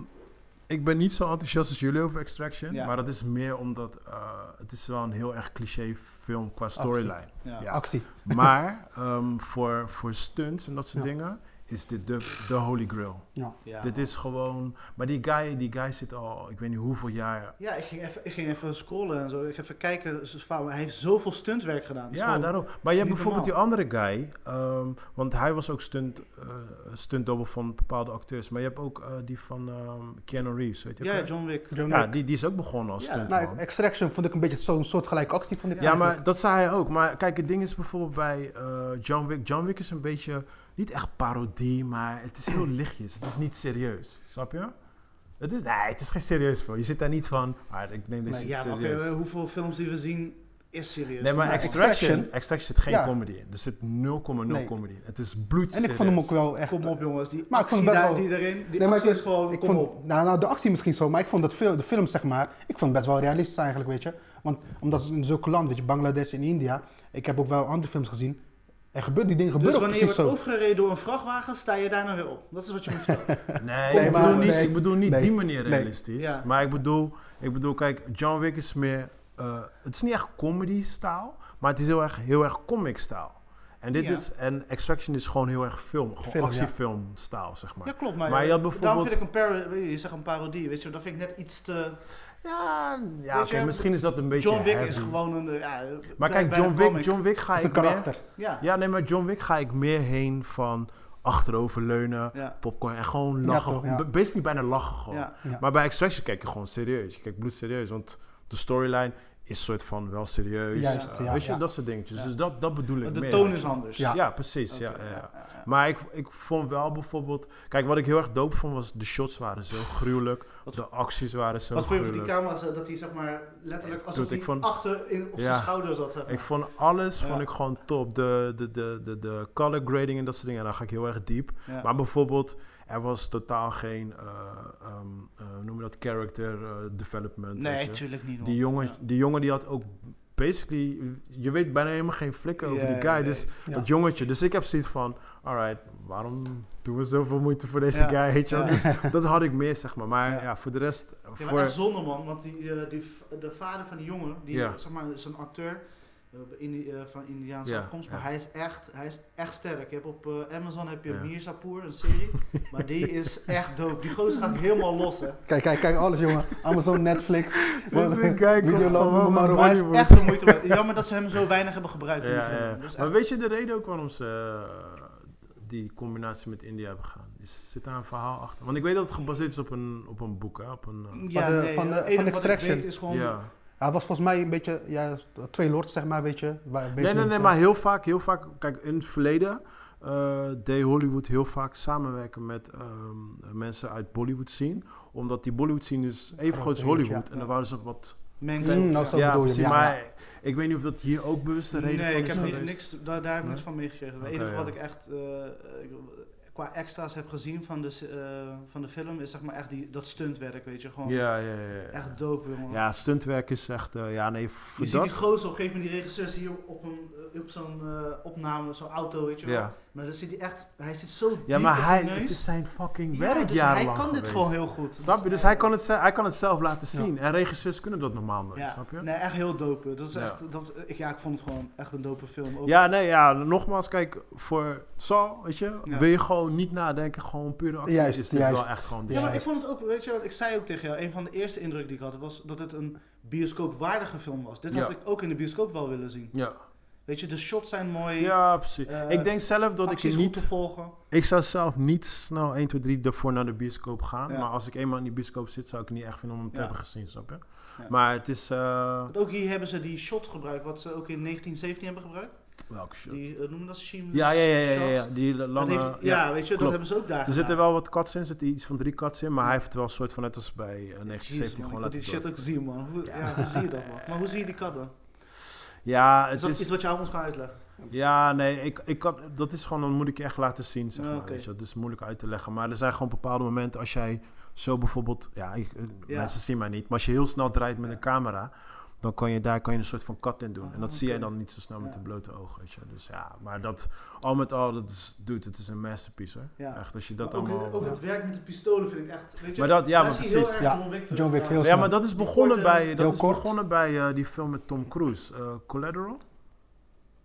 ik ben niet zo enthousiast als jullie over Extraction,
Ja.
maar dat is meer omdat eh, het is wel een heel erg cliché film qua storyline.
Ja.
Ja.
Actie.
Maar ehm, voor, voor stunts en dat soort
Ja.
dingen is dit de, de holy grail.
Ja.
dit is gewoon, maar die guy, die guy zit al, ik weet niet hoeveel jaar.
Ja, ik ging, even, ik ging even scrollen en zo. Ik ging even kijken. Ze- Hij heeft zoveel stuntwerk gedaan. Het is
Ja,
gewoon-
daarom. Maar
is
je hebt
niet
bijvoorbeeld die andere guy, ehm, want hij was ook stunt, eh stuntdobbel van bepaalde acteurs. Maar je hebt ook eh, die van ehm, Keanu Reeves, weet je ook
Ja,
wel?
John Wick.
John
Ja,
Wick.
die, die is ook begonnen als
Ja.
stuntman.
Nou, Extraction vond ik een beetje zo'n soortgelijke actie. Vond ik
ja,
eigenlijk.
maar dat zei hij ook. Maar kijk, het ding is bijvoorbeeld bij eh, John Wick. John Wick is een beetje, niet echt parodie, maar het is heel lichtjes. Het is niet serieus. Snap je? Het is, nee, het is geen serieus film. Je zit daar niet van, maar ik neem deze
Nee,
shit
ja, maar oké,
serieus.
hoeveel films die we zien is serieus.
nee, maar
maar
Extraction,
Extraction-
Extraction zit geen
Ja.
comedy in. Er zit 0,0
Nee.
comedy in. Het is bloedje.
En ik vond hem ook wel echt...
Kom op jongens, die
Maar ik vond
actie
het
daar,
best wel-
die erin, die
Nee, maar
actie
ik-
is gewoon,
Ik
kom
vond,
op.
Nou, nou, de actie misschien zo, maar ik vond dat fil- de film, zeg maar, ik vond het best wel realistisch eigenlijk, weet je. Want omdat ze in zulke land, weet je, Bangladesh en India, ik heb ook wel andere films gezien. Er gebeurt die dingen
Dus
gebeuren ook
wanneer je
precies
wordt
zo.
overgereden door een vrachtwagen, sta je daar nou weer op. Dat is wat je me vertelt.
Nee,
Nee,
ik,
maar-
bedoel niet,
nee,
ik bedoel niet
nee,
die manier
nee.
realistisch.
Ja.
Maar ik bedoel, ik bedoel, kijk, John Wick is meer... eh, het is niet echt comedy-staal, maar het is heel erg, heel erg comic-staal. En, dit
Ja.
is, en Extraction is gewoon heel erg film, gewoon
Film, ja.
actiefilm-staal, zeg maar.
Ja,
Ja,
klopt. Maar,
Maar je had
daarom
bijvoorbeeld-
vind ik een parodie, je zegt een parodie, weet je, dat vind ik net iets te...
ja,
Weet
oké,
je,
misschien is dat een beetje
John Wick is
heavy.
gewoon een... Ja,
Maar
bij-
kijk,
bij een
John Wick,
comic.
John Wick ga
Dat is
ik
een karakter.
meer...
Ja,
Ja, nee, maar John Wick ga ik meer heen van achteroverleunen,
ja,
popcorn en gewoon
Ja,
lachen.
toch, ja.
B- Basically bijna lachen gewoon.
ja.
Ja.
Maar bij Extraction kijk je gewoon serieus. Je kijkt bloedserieus. Want de storyline is soort van wel serieus.
Juist,
eh,
ja,
weet je,
ja.
dat soort dingetjes.
Ja.
Dus dat, dat bedoel ik
De
meer.
toon is anders.
Ja,
Ja.
precies.
Oké,
ja, ja, ja.
ja.
Maar ik, ik vond wel bijvoorbeeld... Kijk, wat ik heel erg dope vond was... De shots waren zo gruwelijk.
Wat-
de acties waren zo
Wat vond je van
gruwelijk.
die camera's, eh, dat hij zeg maar letterlijk
Ik
alsof
doe het,
hij
ik vond-
achter in, op
Ja.
zijn schouder zat, zeg maar.
ik vond alles
Ja.
vond ik gewoon top. De, de, de, de, de color grading en dat soort dingen. En daar ga ik heel erg diep.
Ja.
Maar bijvoorbeeld, er was totaal geen... eh, ehm, eh, hoe noem je dat? Character eh, development. weet
nee,
je.
tuurlijk niet. man.
Die jongen,
Ja.
die jongen die had ook basically, je weet bijna helemaal geen flikken over
Ja,
die guy.
nee.
Dus
Ja.
dat jongetje. Dus ik heb zoiets van, alright, waarom doen we zoveel moeite voor deze
Ja.
guy? Weet je wel?
Ja.
Dus dat had ik meer, zeg maar. Maar ja,
Ja.
voor de rest,
Ja, maar
voor,
echt zonde man, want die, eh, die, v- de vader van die jongen, die,
Ja.
zeg maar, is een acteur, eh, Indi- eh, van Indiaanse
Ja,
afkomst. Maar
ja.
hij, is echt, hij is echt sterk. Je hebt op eh, Amazon heb je
Ja.
Mirzapur,
<laughs>
een serie. maar die is echt dope. Die gozer gaat helemaal los, hè.
Kijk, kijk, kijk, alles
<laughs>
jongen. Amazon, Netflix.
Dus
<laughs>
ik kijk
Videoland,
gewoon
noem maar op.
Maar hij is
Hollywood.
echt de moeite waard. Jammer dat ze hem zo weinig hebben gebruikt. in die
Ja,
film.
ja, ja.
Dat is
Maar
echt-
weet je de reden ook waarom ze eh, die combinatie met India hebben gedaan? Is, zit daar een verhaal achter? Want ik weet dat het gebaseerd is op een, op een boek, hè? Op een, eh,
ja,
Van de-
nee,
van de-
het
van
enige wat ik
Extraction.
weet is gewoon...
ja.
Hij was volgens mij een beetje, ja, twee lords zeg maar, weet je. waar-
Nee, nee, nee,
basically-
maar heel vaak, heel vaak, kijk, in het verleden eh, deed Hollywood heel vaak samenwerken met ehm, mensen uit Bollywood scene. Omdat die Bollywood scene is even groot als
tuurlijk, Oh, ja.
Hollywood. En dan waren ze wat.
Mengsel.
Mm,
ja.
nou, Zo bedoel je hem,
precies,
ja,
maar ik weet niet of dat hier ook bewust de reden
Nee,
van
ik
is
heb ni-
geweest.
niks, daar, daar heb ik niks van meegekregen. Het
Oké,
enige
ja.
wat ik echt eh, eh, qua extra's heb gezien van de, se- eh, van de film is zeg maar echt die, dat stuntwerk, weet je. Gewoon
Ja, ja, ja. ja.
echt dope, jongen.
Ja, stuntwerk is echt, eh, ja, nee,
je
voor
ziet
dat.
die gozer op een gegeven moment, die regisseur is hier op, een, eh, op zo'n eh, opname, zo'n auto, weet je wel.
Ja.
Maar dan zit hij echt, hij zit zo diep
Ja, maar
in de
hij,
neus.
het is zijn fucking
Ja,
werk
dus hij
jarenlang
kan dit
geweest.
gewoon heel goed.
Snap je? Dus hij kan het, ze- hij kan het zelf laten zien. En regisseurs kunnen dat normaal nooit,
Ja,
snap je?
nee, echt heel dope. Dat is
Ja.
echt, dat, ik, ja, ik vond het gewoon echt een dope film. Ook
Ja, nee, ja, nogmaals, kijk, voor Saul, weet je,
Ja.
wil je gewoon niet nadenken, gewoon pure actie,
Juist,
is dit
juist.
wel echt gewoon dit.
Ja, maar ik vond het ook, weet je wat, ik zei ook tegen jou, een van de eerste indrukken die ik had, was dat het een bioscoopwaardige film was. Dit had
Ja.
ik ook in de bioscoop wel willen zien.
ja.
Weet je, de shots zijn mooi,
Ja, precies.
Eh,
ik denk zelf dat ik
acties
je
goed te
niet,
volgen.
ik zou zelf niet snel 1, 2, 3 ervoor naar de bioscoop gaan.
Ja.
Maar als ik eenmaal in die bioscoop zit, zou ik het niet echt vinden om hem te
Ja.
hebben gezien, snap je?
Ja.
Maar het is, eh
Want ook hier hebben ze die shot gebruikt, wat ze ook in 1917 hebben gebruikt.
welke shot?
Die eh, noemen dat shimless
Ja, ja, ja, ja, ja, ja,
shots.
die
Dat
lange,
heeft, ja, weet je, dat
klopt.
hebben ze ook daar
Er zitten
gedaan.
wel wat cuts in, er zitten iets van drie cuts in, maar hij heeft het wel een soort van net als bij eh,
Jezus,
1970
man, ik
gewoon
moet
laten
die shit
doen.
ook zien, man. Hoe, ja.
Ja.
hoe zie je dat, man? Maar hoe zie je die
<laughs>
kat dan?
Ja,
Is
het
dat
is,
iets wat jou ons kan uitleggen?
ja, nee, ik, ik kan, dat is gewoon, dan moet ik je echt laten zien, zeg
Ja,
maar.
oké.
Weet je, dat is moeilijk uit te leggen, maar er zijn gewoon bepaalde momenten als jij zo bijvoorbeeld, ja, ik- eh,
Ja.
mensen zien mij niet, maar als je heel snel draait met een camera, dan kan je daar kan je een soort van cut in doen.
Ah,
en dat zie jij
oké.
dan niet zo snel met
Ja.
de blote ogen, weet je. Dus ja, maar dat, al met al, dat is, dude, het is een masterpiece, hoor.
Ja.
Echt, als je dat
Maar ook,
allemaal...
ook het werk met de pistolen vind ik echt, weet je,
Maar dat- ja,
daar
maar
zie je heel
precies.
erg
Ja,
John Wick terug.
John Wick heel
Ja,
snel.
maar dat is
Die
begonnen
korte-
bij,
Heel
dat is
kort.
begonnen bij eh, die film met Tom Cruise, eh, Collateral.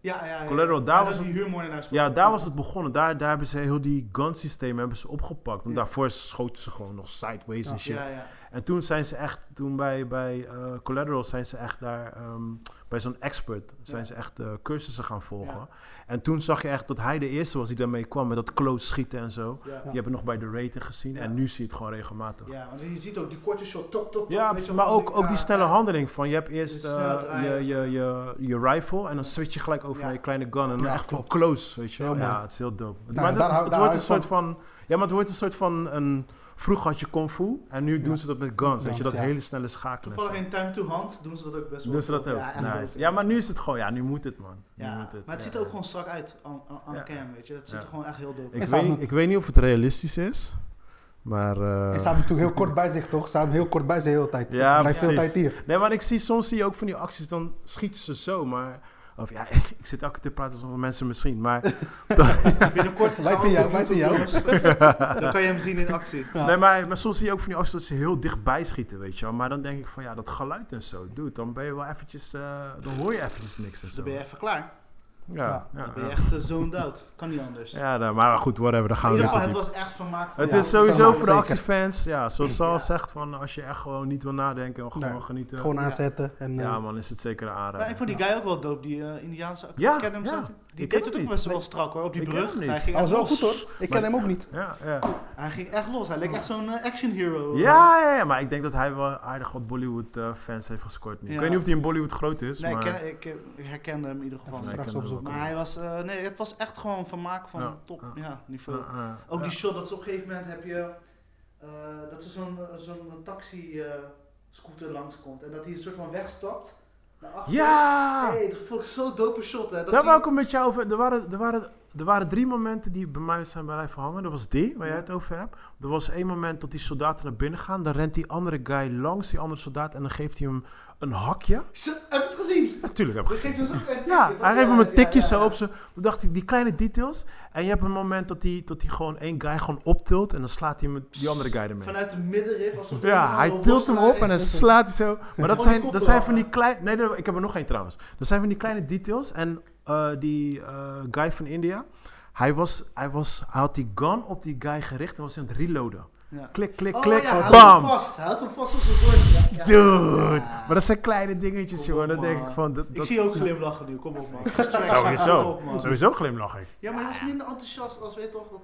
Ja, ja, ja.
Collateral, daar
Ja,
was
dat
het-
die huurmoordenaars.
Ja, daar was het begonnen. Daar, daar hebben ze heel die gunsysteem hebben ze opgepakt. En
Ja.
daarvoor schoten ze gewoon nog sideways
Ja.
en shit.
Ja, ja.
En toen zijn ze echt, toen bij, bij eh, Collateral zijn ze echt daar, ehm, bij zo'n expert, zijn
Ja.
ze echt eh, cursussen gaan volgen.
Ja.
En toen zag je echt dat hij de eerste was die daarmee kwam, met dat close schieten en zo.
ja.
Die hebben nog bij de rating gezien
Ja.
en nu zie je het gewoon regelmatig.
Ja, want je ziet ook die korte shot, top, top,
Ja,
top, weet je
maar
wel,
ook, ook die snelle handeling van je hebt eerst
Dus snel
eh,
draaien.
je, je, je, je rifle en dan switch je gelijk over
Ja.
naar je kleine gun en dan
Ja,
echt van
klopt.
close, weet je wel.
Heel mooi.
Ja, het is heel dope.
Nou,
maar dat-
daar hou-
het
daar
wordt
hou
een
ik
soort van, ja, maar het wordt een soort van een, vroeger had je kung fu en nu doen
Ja.
ze dat met guns, weet
Guns,
je, dat
ja.
hele snelle schakelen. en
Toevallig in Time to Hand doen ze dat ook best
zo.
wel.
Doen ze dat
goed.
ook?
Ja, echt
Nice.
dope.
ja, maar nu is het gewoon, ja, nu moet het man. Nu
Ja,
moet het,
maar het
ja.
ziet er ook gewoon strak uit aan, aan- aan
Ja.
cam, weet je. Dat ziet
Ja.
er gewoon echt heel dope
Ik
Is
weet,
aan
niet-
het-
ik weet niet of het realistisch is, maar... eh,
En ze hebben natuurlijk heel kort bij zich, toch? Ze hebben heel kort bij zich de hele tijd.
Ja,
Hij blijft de hele tijd
precies.
hier.
Nee, maar ik zie soms zie je ook van die acties, dan schieten ze zo, maar... Of ja, <laughs> ik, ik zit elke keer te praten alsof mensen misschien,
<laughs>
maar...
Nou. uit. Binnenkort gaan
Wij
we
zien jou,
op
wij zien jou.
<laughs>
YouTube, jongens. Dan kan je hem zien in actie.
Ja.
Nee, maar, maar soms zie je ook van die acties dat ze heel dichtbij schieten, weet je wel. Maar dan denk ik van, ja, dat geluid en zo, dude, dan ben je wel eventjes... eh, dan hoor je eventjes niks en zo.
Dus dan ben je even klaar.
Ja, ja,
Dan
ja.
ben je echt eh, zoned out. Kan niet anders.
Ja, nou, maar goed, whatever, daar
in
gaan we
ieder
niet
geval,
op
het
diep.
was echt vermaakt.
Het
Ja,
is sowieso
vermaak,
voor de
zeker.
actiefans, ja, zoals Sal
Ja.
zegt, van als je echt gewoon niet wil nadenken en gewoon
Nee,
genieten.
Gewoon
Ja.
aanzetten. En, eh,
Ja man, is het zeker een aanrader.
Maar ik vond die guy ook wel dope, die eh, Indiaanse
Ja,
ik ken hem
ja.
zo- Die
Ik
deed
ken
het
hem
ook
niet.
best wel strak hoor, op die
Ik ken
brug.
hem niet.
Hij ging
Hij was
echt los.
wel goed hoor. Ik ken
Maar-
hem ook niet.
Ja, ja.
Hij ging echt los. Hij leek echt zo'n eh, action hero.
Oh. Ja, ja, ja, maar ik denk dat hij wel aardig wat Bollywood-fans heeft gescoord nu.
Ja.
Ik weet niet of hij in Bollywood groot is,
Nee, ik,
maar...
ken- ik, eh, ik herkende hem in ieder geval.
Nee,
ik
straks
ken hem
opzoeken.
wel.
Maar hij was, eh, nee, het was echt gewoon vermaak van
Ja,
top
ja.
ja, niveau.
Ja, ja,
Ook die
ja.
shot dat ze op een gegeven moment heb je, eh, dat ze zo'n zo'n taxi eh scooter langskomt en dat hij een soort van wegstapt naar achter.
Ja!
Hey, dat vond ik zo'n dope shot hè. Dat
Daar
hij-
wou ik een beetje over... Er waren, er, waren, er waren drie momenten die bij mij zijn blijven hangen. Dat was die, waar jij het over hebt. Er was één moment dat die soldaten naar binnen gaan. Dan rent die andere guy langs die andere soldaat en dan geeft hij hem een hakje.
Ze- Heb je het gezien.
Natuurlijk heb ik
Dat
gezien.
geeft ons ook een <laughs>
Ja,
tikje,
hij
toch?
geeft hem een
ja,
tikje
ja,
zo
ja.
op zijn... Toen dacht ik, die kleine details. En je hebt een moment dat hij dat die gewoon één guy gewoon optilt. En dan slaat hij met die andere guy ermee.
Vanuit de middenrif. alsof het
Ja,
een
hij
oude
tilt hem
Nou, worstelaar
op en dan
is.
slaat hij zo. Maar dat
Oh, die
zijn,
kop
dat
eraf,
zijn van die
hè?
kleine... Nee, nee, ik heb er nog één trouwens. Dat zijn van die kleine details. En eh, die eh, guy van India... Hij, was, hij, was, hij had die gun op die guy gericht en was aan het reloaden.
Ja.
Klik, klik,
Oh,
klik.
ja, hij houdt
bam!
hem vast. Hij houdt hem vast op zijn bord. Ja, ja.
Dude!
Ja.
Maar dat zijn kleine dingetjes,
Kom
joh.
op,
Dan denk ik
man.
van... Dat,
Ik
dat-
zie ook glimlachen nu, kom op man. Kom
Sowieso.
op, man.
Sowieso glimlach ik.
Ja, maar je was minder enthousiast als weet toch. dat-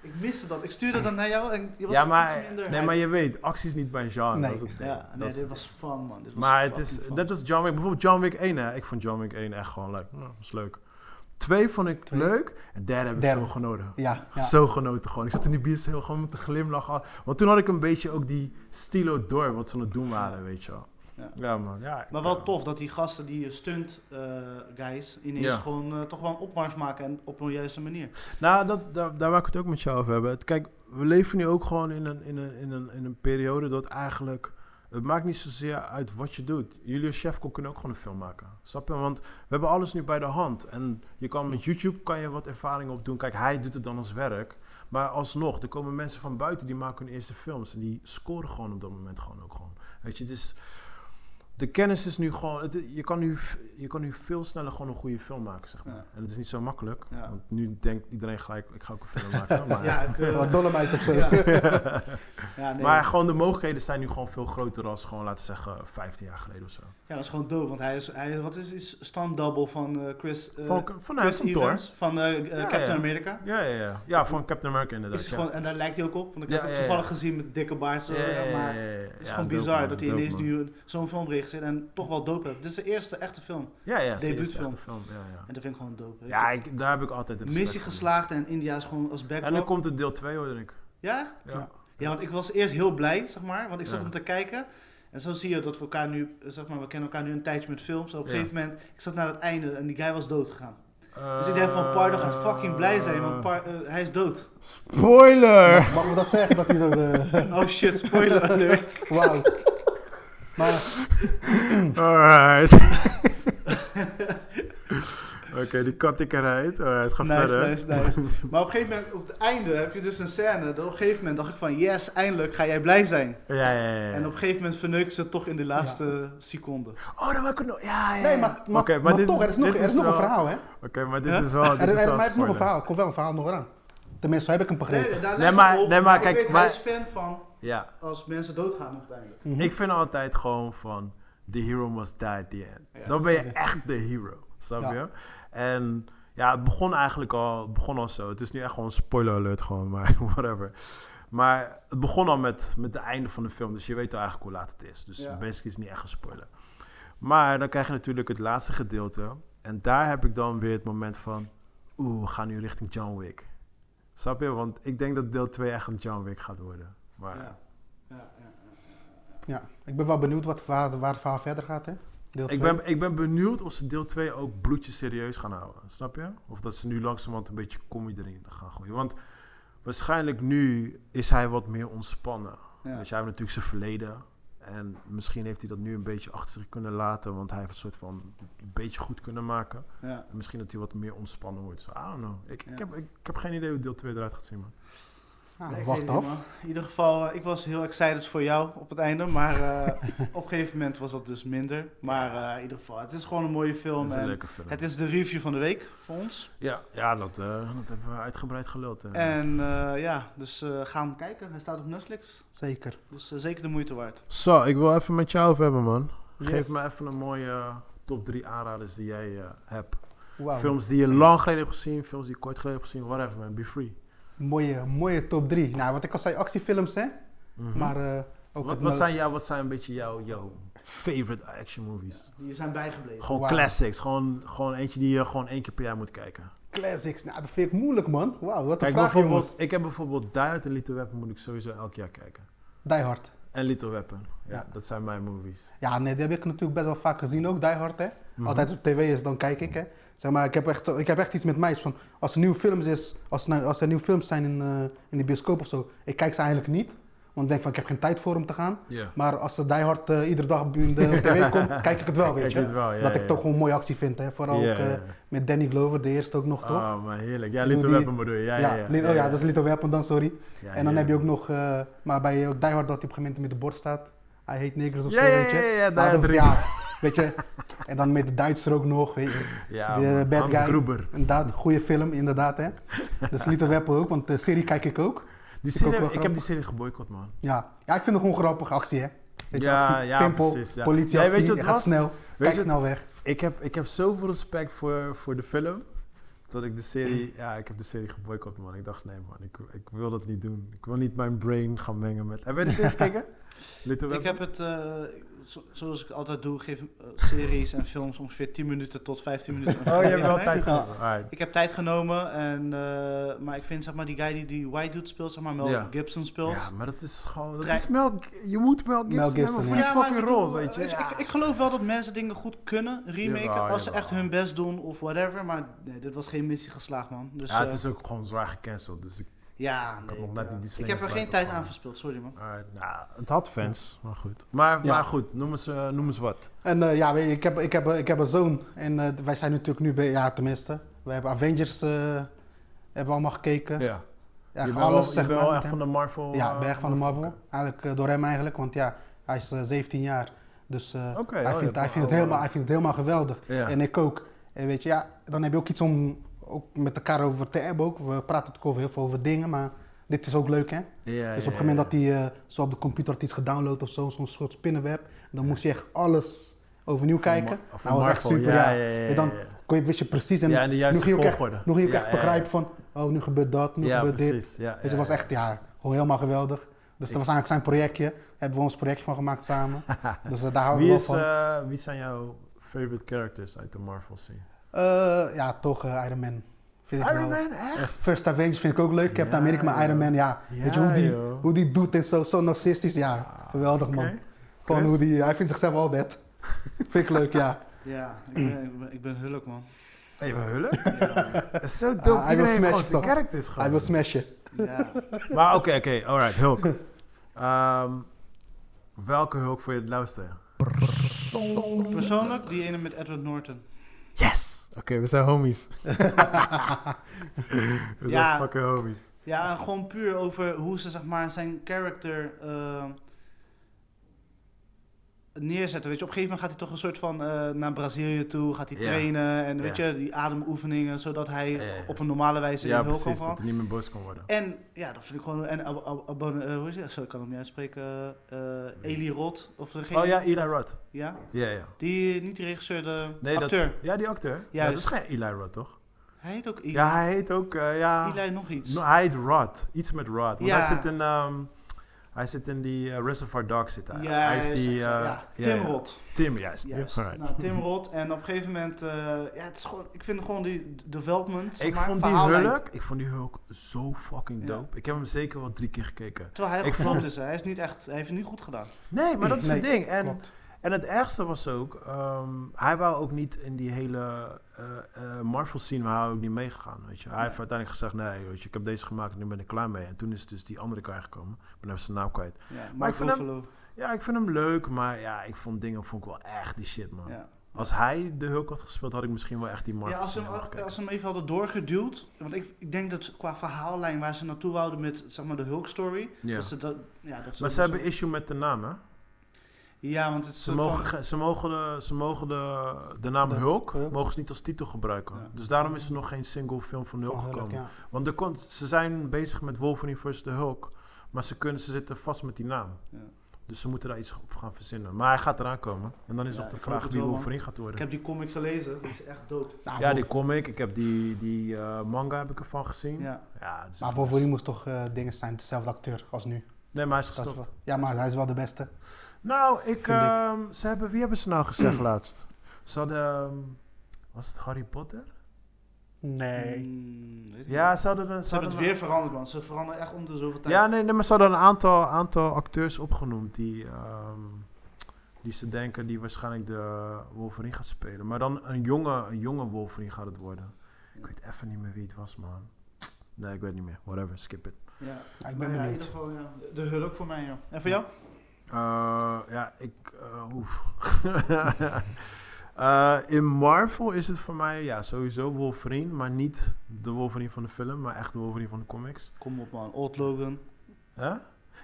Ik miste dat. Ik stuurde dat naar jou en je was
Ja,
iets
maar,
minder.
nee, maar je weet, actie is niet mijn genre.
Nee.
dat is het ding.
Ja,
Dat
nee,
is-
dit was fun man. Dit was
maar het is,
fucking fun.
dat is John Wick. Bijvoorbeeld John Wick 1, hè. Ik vond John Wick 1 echt gewoon leuk. Nou, was leuk. Twee vond ik
Twee.
leuk. En derde heb ik
Derde.
zo genoten.
Ja, ja.
Zo genoten gewoon. Ik zat in die heel gewoon met te glimlachen. Want toen had ik een beetje ook die stilo door wat ze aan het doen waren, weet je wel. Ja,
Ja.
man. Ja, ik-
Maar wel tof dat die gasten, die stunt eh, guys, ineens
Ja.
gewoon eh, toch wel een opmars maken en op een juiste manier.
Nou, dat, daar, daar wil ik het ook met jou over hebben. Het- Kijk, we leven nu ook gewoon in een, in een, in een, in een periode dat eigenlijk... Het maakt niet zozeer uit wat je doet. Julius Chefko kunnen ook gewoon een film maken. Snap je? Want we hebben alles nu bij de hand. En je kan met YouTube kan je wat ervaring opdoen. Kijk, hij doet het dan als werk. Maar alsnog, er komen mensen van buiten die maken hun eerste films. En die scoren gewoon op dat moment gewoon ook gewoon. Weet je, dus de kennis is nu gewoon... het- je, kan nu, je kan nu veel sneller gewoon een goede film maken, zeg maar.
Ja.
En het is niet zo makkelijk.
Ja.
Want nu denkt iedereen gelijk, ik ga ook
<laughs>
een film maken. Maar,
Ja,
<laughs>
ik, eh,
Wat Dolomite of zo.
ja. ja, nee.
maar gewoon de mogelijkheden zijn nu gewoon veel groter dan gewoon, laten we zeggen, 15 jaar geleden of zo.
ja, dat is gewoon dope, want hij is, hij, is- wat is, is stand double van eh, Chris, eh,
Van, nou, vanuit
Chris
kantoor.
Evans van eh, eh,
Ja,
Captain
ja.
America.
Ja, ja, ja. Ja, van Captain America inderdaad.
Is
ja.
gewoon, en daar lijkt hij ook op, want ik heb
Ja,
hem
ja, ja.
toevallig gezien met dikke baard. Zo,
Ja, ja, ja,
maar
ja, ja.
het is
Ja,
gewoon
dope,
bizar
man,
dat hij in
dope,
deze
man.
nu zo'n film regisseert en toch wel dope hebt. Dit is de eerste echte film
Ja, ja, serieus,
debuutfilm.
echt een film, Ja, ja.
en dat vind ik gewoon dope.
ja ik, daar heb ik altijd een
Missie geslaagd en India is gewoon als
En dan
backdrop.
komt het deel 2 hoor ik.
Ja, echt?
Ja.
Ja, want ik was eerst heel blij, zeg maar. Want ik zat
Ja.
om te kijken. En zo zie je dat we elkaar nu, eh, zeg maar, we kennen elkaar nu een tijdje met films. En op een
Ja.
gegeven moment, ik zat naar het einde en die guy was dood gegaan.
Eh,
Dus ik denk van Pardo gaat fucking blij zijn, want Par- eh, hij is dood. <laughs>
Spoiler!
Mag ik dat zeggen? Dat hij dat...
<laughs>
eh,
Oh shit, spoiler alert.
Wauw. Maar
<laughs>
<laughs>
Alright. Oké, die kat ik eruit. Alright, ga
Nice,
verder.
nice, nice. Maar op een gegeven moment, op het einde heb je dus een scène. dat Op een gegeven moment dacht ik van, yes, eindelijk ga jij blij zijn.
Ja, ja, ja. ja.
En op een gegeven moment verneuken ze het toch in de laatste seconde.
Oh, dat wil ik ook nog. Ja, ja.
nee,
ja.
maar, maar,
Oké,
maar
dit
toch, er is nog, er is nog
wel-
een verhaal, hè?
Oké, maar dit
Ja?
is wel. Dit
Er,
is
er-
wel
maar er is nog een
spoiler.
verhaal. Er komt wel een verhaal nog aan. Tenminste, zo heb ik hem begrepen.
daar lijkt
Nee,
het
maar-
op,
nee, maar
ik
kijk,
weet,
maar-
hij is fan van
Ja,
als mensen doodgaan op het einde.
Mhm.
ik vind altijd gewoon van. The hero must die at the end.
Ja,
Dan ben je
zeker.
echt de hero. Snap
Ja.
je? En ja, het begon eigenlijk al, het begon al zo. Het is nu echt gewoon spoiler alert, gewoon, <laughs> maar whatever. Maar het begon al met, met het einde van de film. Dus je weet al eigenlijk hoe laat het is. Dus
Ja.
basically is het niet echt een spoiler. Maar dan krijg je natuurlijk het laatste gedeelte. En daar heb ik dan weer het moment van... Oeh, we gaan nu richting John Wick. Snap je? Want ik denk dat deel 2 echt een John Wick gaat worden. Maar
Ja. Ja, ja, ja.
Ja, ik ben wel benieuwd wat, waar, waar het verhaal verder gaat, hè? Deel
ik,
twee.
ben, ik ben benieuwd of ze deel 2 ook bloedje serieus gaan houden. Snap je? Of dat ze nu langzamerhand een beetje comedy erin gaan gooien. Want waarschijnlijk nu is hij wat meer ontspannen.
Ja.
Weet je, hij heeft natuurlijk zijn verleden. En misschien heeft hij dat nu een beetje achter zich kunnen laten. Want hij heeft het soort van een beetje goed kunnen maken.
Ja.
En misschien dat hij wat meer ontspannen wordt. So, I don't know. Ik,
Ja.
ik, heb, ik, ik heb geen idee hoe deel 2 eruit gaat zien, man. Nou,
Ah,
Nee, ik
wacht
weet niet,
af.
man. In ieder geval, eh, ik was heel excited voor jou op het einde. Maar eh, <laughs> op een gegeven moment was dat dus minder. Maar eh, in ieder geval, het is gewoon een mooie film.
Het is een
en
leuke film.
het is de review van de week voor ons.
Ja, ja dat, eh, dat hebben we uitgebreid geluld. eh.
En eh, ja, dus eh, ga hem kijken. Hij staat op Netflix.
Zeker.
Dus eh, zeker de moeite waard.
Zo, ik wil even met jou over hebben, man. Geef
Yes.
me even een mooie eh, top 3 aanraders die jij eh, hebt.
Wauw.
Films die je lang geleden hebt gezien, films die je kort geleden hebt gezien, whatever man, be free.
Mooie, mooie top 3. Nou, wat ik al zei, actiefilms, hè?
Mhm.
Maar eh, ook
wat,
het
wat,
no-
zijn jou, wat zijn een beetje jouw jouw favorite action movies?
Die zijn bijgebleven.
Gewoon
Wauw.
classics, gewoon, gewoon eentje die je gewoon één keer per jaar moet kijken.
classics. Nou, dat vind ik moeilijk, man. Wauw, wat een
Kijk,
vraag,
bijvoorbeeld,
jongens.
ik heb bijvoorbeeld Die Hard en Little Weapon moet ik sowieso elk jaar kijken.
Die Hard.
En Little Weapon, ja,
Ja.
dat zijn mijn movies.
Ja, nee, die heb ik natuurlijk best wel vaak gezien ook, Die Hard, hè?
Mhm.
Altijd op tv is, dan kijk ik, hè? Zeg maar, ik heb echt, ik heb echt iets met mij. is van, als er nieuwe films is, als, nou- als er nieuwe films zijn in, eh, in de bioscoop of zo, ik kijk ze eigenlijk niet. Want ik denk van, ik heb geen tijd voor om te gaan.
Ja.
Maar als de Die Hard eh, iedere dag op de op tv
<laughs>
komt, kijk ik het wel, weet
Kijk
je.
je het wel, ja,
dat ik
ja.
toch gewoon een mooie actie vind, hè. Vooral
Ja,
ook eh,
ja, ja.
met Danny Glover, de eerste ook nog, toch?
Ah, maar heerlijk. Ja,
Ik bedoel,
Little
die-
Weapon bedoel je. Ja, ja, ja.
Lin- oh ja, dat is Little Weapon dan, sorry.
Ah, Ja,
en dan heb je ook
heerlijk.
nog, eh, maar bij ook Die Hard dat hij op een gegeven moment met de bord staat. Hij heet Negers of
Ja,
zo,
ja,
weet je.
ja, ja, Die
Maar
Hard
dat-
drie.
ja, weet je. En dan met de Duitser ook nog, weet je.
Ja,
de
man.
bad
Hans
guy.
Gruber.
Inderdaad, goede film, inderdaad, hè. Dus Little Weapon ook, want de serie kijk ik ook.
Die
ook
serie,
wel
ik, heb die
grappig.
serie geboycott, man.
Ja, ja ik vind het gewoon een grappige actie, hè. Weet je,
Ja,
actie,
ja,
simpel,
precies, ja.
politie,
Nee, weet je wat
je
het
gaat
was?
snel, kijk
je-
snel weg.
Ik heb, ik heb zoveel respect voor, voor de film. Dat ik de
Mm.
serie, ja, ik heb de serie geboycott, man. Ik dacht, nee, man, ik, ik wil dat niet doen. Ik wil niet mijn brain gaan mengen met. Heb jij de
<laughs>
serie gekeken? Little
Ik
Weapon?
heb het, eh, zo- zoals ik altijd doe, geef eh, series en films ongeveer 10 minuten tot 15 minuten.
<laughs> Oh, je hebt wel
Ja,
tijd
Ja.
genomen. Alright.
Ik heb tijd genomen, en, eh, maar ik vind zeg maar, die guy die die White Dude speelt, zeg maar Mel
Ja.
Gibson speelt.
Ja, maar dat is gewoon. Dat
Trek-
is Mel, je moet Mel Gibson,
Gibson,
hebben voor
ja.
je fucking
ik
rol,
bedoel,
weet je.
ik, ik geloof wel dat mensen dingen goed kunnen remaken
Jawel,
als ze
jawel.
echt hun best doen of whatever. Maar nee, dit was geen missie geslaagd, man. Dus,
ja,
eh,
het is ook gewoon zwaar gecanceld. Dus ik,
ja,
had
nee, eh,
nog net
ja.
niet die
ik heb er
slingers
geen
bij
tijd
te
aan
vangen.
verspild, sorry man.
Alright, nou, het had fans, maar goed. Maar,
Ja.
maar goed, noem eens, eh, noem eens wat.
En eh, ja, weet je, ik heb, ik, heb, ik heb een zoon. En eh, wij zijn natuurlijk nu bij, ja tenminste, we hebben Avengers eh, hebben we allemaal gekeken.
Ja.
Ja,
je bent wel,
alles zeg
je bent
maar.
wel
met
echt
hem.
van de Marvel.
ja, ik
eh,
ben echt van de Marvel.
Oké.
Eigenlijk eh, door hem eigenlijk, want ja, hij is eh, 17 jaar. Dus eh,
Oké, oh,
hij,
je hebt
vindt, hij,
wel
vindt het
al,
helemaal,
eh,
hij vindt het helemaal geweldig.
Ja.
En ik ook. En weet je, ja, dan heb je ook iets om ook met elkaar over te hebben. Ook. We praten natuurlijk over heel veel over dingen, maar dit is ook leuk hè.
Ja,
Dus
ja,
op het moment
ja.
dat hij eh, zo op de computer had iets gedownload of zo, zo'n soort spinnenweb, dan moest je echt alles overnieuw kijken.
Mar- van
dat was echt
Marvel,
super,
ja,
ja.
ja, ja,
En dan
ja, ja.
kon je, wist je precies en
Ja, en de juiste
nu ging je ook
volgorde.
echt, nu ging je ook
Ja,
echt
ja, ja.
begrijpen van, oh nu gebeurt dat, nu
Ja,
gebeurt dit.
precies. Ja,
Dus
ja,
het was
ja.
echt, ja, gewoon helemaal geweldig. Dus dat was eigenlijk zijn projectje. Daar hebben we ons projectje van gemaakt
<laughs>
samen. dus eh, daar houden we
Wie,
wel
is,
van.
eh, wie zijn jouw favorite characters uit de Marvel serie?
Eh, ja, toch eh, Iron Man. Vind ik wel.
echt?
Eh, First Avengers vind ik ook leuk. Captain
Ja,
America, maar Iron
joh.
Man, ja.
Ja,
Weet je hoe die,
joh.
hoe die doet en zo, zo narcistisch. Ja, geweldig
Oké.
man. Gewoon
Chris?
hoe die, hij vindt zichzelf al
<laughs>
dead. Vind ik leuk, ja.
Ja, ik ben, ik ben, ik ben hulk man.
Hey, we
<laughs>
hullen?
Ja,
Dat is Zo
Ah,
dope.
hij
Iedereen
wil
heeft
smashen
gewoon zijn
toch?
characters gewoon.
Hij wil smashen.
<laughs>
ja.
Maar oké, oké, alright, Hulk.
<laughs>
Ehm, welke Hulk vond je het lauwste?
Persoonlijk, die ene met Edward Norton.
Yes! Oké, we zijn
<laughs>
homies. we
Ja.
zijn fucking homies.
Ja, en gewoon puur over hoe ze zeg maar, zijn character eh, neerzetten. Weet je, op een gegeven moment gaat hij toch een soort van eh, naar Brazilië toe, gaat hij
Ja.
trainen en
Ja.
weet je, die ademoefeningen, zodat hij
Ja, ja, ja.
op een normale wijze
Ja,
in hulp kan
precies,
gaan.
dat hij niet meer boos kon worden.
En ja, dat vind ik gewoon. En ab, ab, Abon- eh, hoe is het? Zo, ik kan hem niet uitspreken. eh, eh, Eli Roth of degene.
Oh ja, Eli Roth.
ja.
Ja, ja.
Die niet de regisseur, de
Nee,
acteur.
Dat, ja, die acteur. Ja, dat
Juist.
is geen Eli Roth, toch?
Hij heet ook dus- Eli.
Ja, hij heet ook, eh, ja...
Eli nog iets.
No, hij heet Rod. Iets met Rod. Want
Ja.
hij zit in... ehm, hij zit in die eh, Reservoir Dogs zit hij. hij
Juist,
is die... eh,
ja, Tim Roth.
Tim, juist.
Juist.
Alright.
Nou, Tim Roth. En op een gegeven moment, eh, ja, het is gewoon, ik vind gewoon die development. zeg
Ik
maar,
vond die
verhaallijn.
Hulk, ik vond die Hulk zo fucking
Ja.
dope. Ik heb hem zeker wel drie keer gekeken.
Terwijl hij
Ik
geflopt is, hè. hij is niet echt, hij heeft het niet goed gedaan.
Nee, maar dat is
Nee,
het ding. En,
Klopt.
en het ergste was ook, ehm, hij wou ook niet in die hele eh, eh, Marvel scene, waar hij ook niet meegegaan. Weet je. Hij heeft uiteindelijk gezegd, nee, weet je, ik heb deze gemaakt en nu ben ik klaar mee. En toen is dus die andere guy gekomen. Ik ben even zijn naam kwijt.
Ja,
Maar ik
Mark
vind hem-
Ruffalo.
Ja, ik vind hem leuk, maar ja, ik vond dingen vond ik wel echt die shit, man.
Ja.
Als hij de Hulk had gespeeld, had ik misschien wel echt die Marvel
Ja, als ze,
scene
hem,
gekeken.
als ze hem even hadden doorgeduwd, want ik, ik denk dat qua verhaallijn waar ze naartoe wouden met zeg maar, de Hulk-story,
Ja.
dat ze dat... Ja, dat ze
Maar ze
dat
hebben issue met de naam, hè?
Ja, want het is
Ze
een soort
mogen,
van-
ge- ze mogen, de, ze mogen de, de naam
De-
Hulk
Hulk.
mogen ze niet als titel gebruiken.
Ja.
Dus daarom is er nog geen single film van Hulk
Van Hulk,
gekomen.
ja.
Want er kon, ze zijn bezig met Wolverine vs. de Hulk. Maar ze, kunnen, ze zitten vast met die naam.
Ja.
Dus ze moeten daar iets op gaan verzinnen. Maar hij gaat eraan komen. En dan is
Ja,
op de
ik
vraag
hoop het
wie
wel, man.
Wolverine gaat
Ik
worden.
heb die comic gelezen, die is echt dope.
Nou,
Ja, die
Wolf-
comic. Ik heb die, die eh, manga heb ik ervan gezien. Ja.
Ja.
het is-
maar Wolverine moest toch eh, dingen zijn, dezelfde acteur als nu.
nee, maar hij is
Dat is
gestopt.
wel- ja, maar hij is wel de beste.
Nou, ik,
Vind ik.
ehm, ze hebben, wie hebben ze nou gezegd laatst? Ze hadden, ehm, was het Harry Potter?
Nee.
Mm, weet ik
Ja,
niet.
ze hadden, een-
Ze hebben het
hadden een-
weer veranderd, man. Ze veranderen echt om de zoveel tijd.
Ja, nee, nee, maar ze hadden een aantal, aantal acteurs opgenoemd die, ehm, die ze denken die waarschijnlijk de Wolverine gaat spelen. Maar dan een jonge, een jonge Wolverine gaat het worden. Ik weet even niet meer wie het was, man. Nee, ik weet niet meer. Whatever, skip it.
Ja.
Ja,
Maar
ik ben
ja, in
benieuwd.
ieder geval ja, de hulp voor mij. Ja. En voor jou?
Eh, ja, ik. eh, oef. <laughs> Eh, in Marvel is het voor mij ja, sowieso Wolverine, maar niet de Wolverine van de film, maar echt de Wolverine van de comics.
Kom op man, Old Logan.
Hè?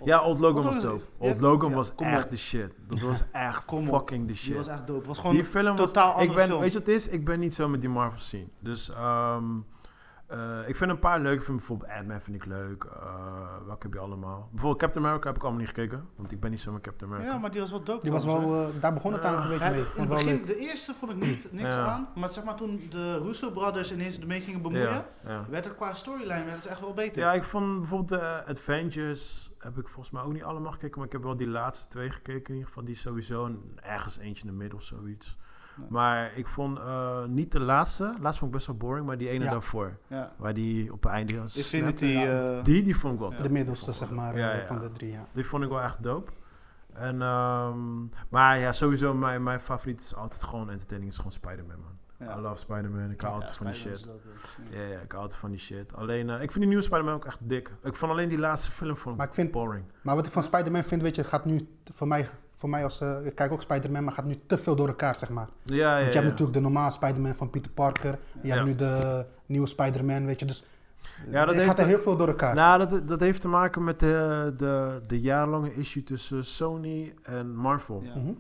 Ja, Old Logan was
is-
dope.
ja,
Old Logan
ja,
was
kom
echt
op.
de shit. Dat was echt
Kom op.
fucking de
Die was
shit.
echt dope. Was gewoon
Die film was
totaal
ik
andere
ben,
film.
Weet je wat het is? Ik ben niet zo met die Marvel scene. Dus ehm, eh, ik vind een paar leuk. Ik vind bijvoorbeeld Ant-Man vind ik leuk. Eh welke heb je allemaal? Bijvoorbeeld Captain America heb ik allemaal niet gekeken. Want ik ben niet zo met Captain America.
Ja, maar die was wel dope.
Die was
trouwens,
wel, eh, daar begon het
Ja.
eigenlijk een
Ja,
beetje mee.
in het
Vond het wel
begin,
leuk.
de eerste vond ik niet, niks
Ja.
aan. Maar zeg maar toen de Russo brothers ineens ermee gingen bemoeien,
ja, ja.
werd het qua storyline werd het echt wel beter.
Ja, ik vond bijvoorbeeld de eh, Avengers heb ik volgens mij ook niet allemaal gekeken. Maar ik heb wel die laatste twee gekeken in ieder geval. Die is sowieso een- ergens eentje in de midden of zoiets.
Ja.
Maar ik vond eh, niet de laatste. Laatst vond ik best wel boring, maar die ene
Ja.
daarvoor.
Ja.
Waar die op het einde...
Infinity.
ja.
eh,
Die, die vond ik wel
De middelste, zeg maar,
Ja,
eh,
ja.
van de drie, ja.
Die vond ik wel echt dope. En, ehm, maar ja, sowieso, mijn, mijn favoriet is altijd gewoon entertaining, is gewoon Spider-Man, man.
ja.
I love Spider-Man, ik hou
Ja,
altijd van die
Spider-Man
shit.
is dope,
Ja, ja, ik hou altijd van die shit. Alleen, eh, ik vind die nieuwe Spider-Man ook echt dik. Ik vond alleen die laatste film vond
Maar ik vind-
boring.
Maar wat ik van Spider-Man vind, weet je, gaat nu t- voor mij, voor mij als, eh, ik kijk ook Spider-Man, maar gaat nu te veel door elkaar, zeg maar.
Ja, ja,
Want je
ja.
hebt natuurlijk de normale Spider-Man van Peter Parker, je
Ja.
hebt nu de nieuwe Spider-Man, weet je, dus
Ja, dat
het
heeft
gaat er
een-
heel veel door elkaar.
Nou, dat, dat heeft te maken met de, de, de jarenlange issue tussen Sony en Marvel.
Ja.
Mhm.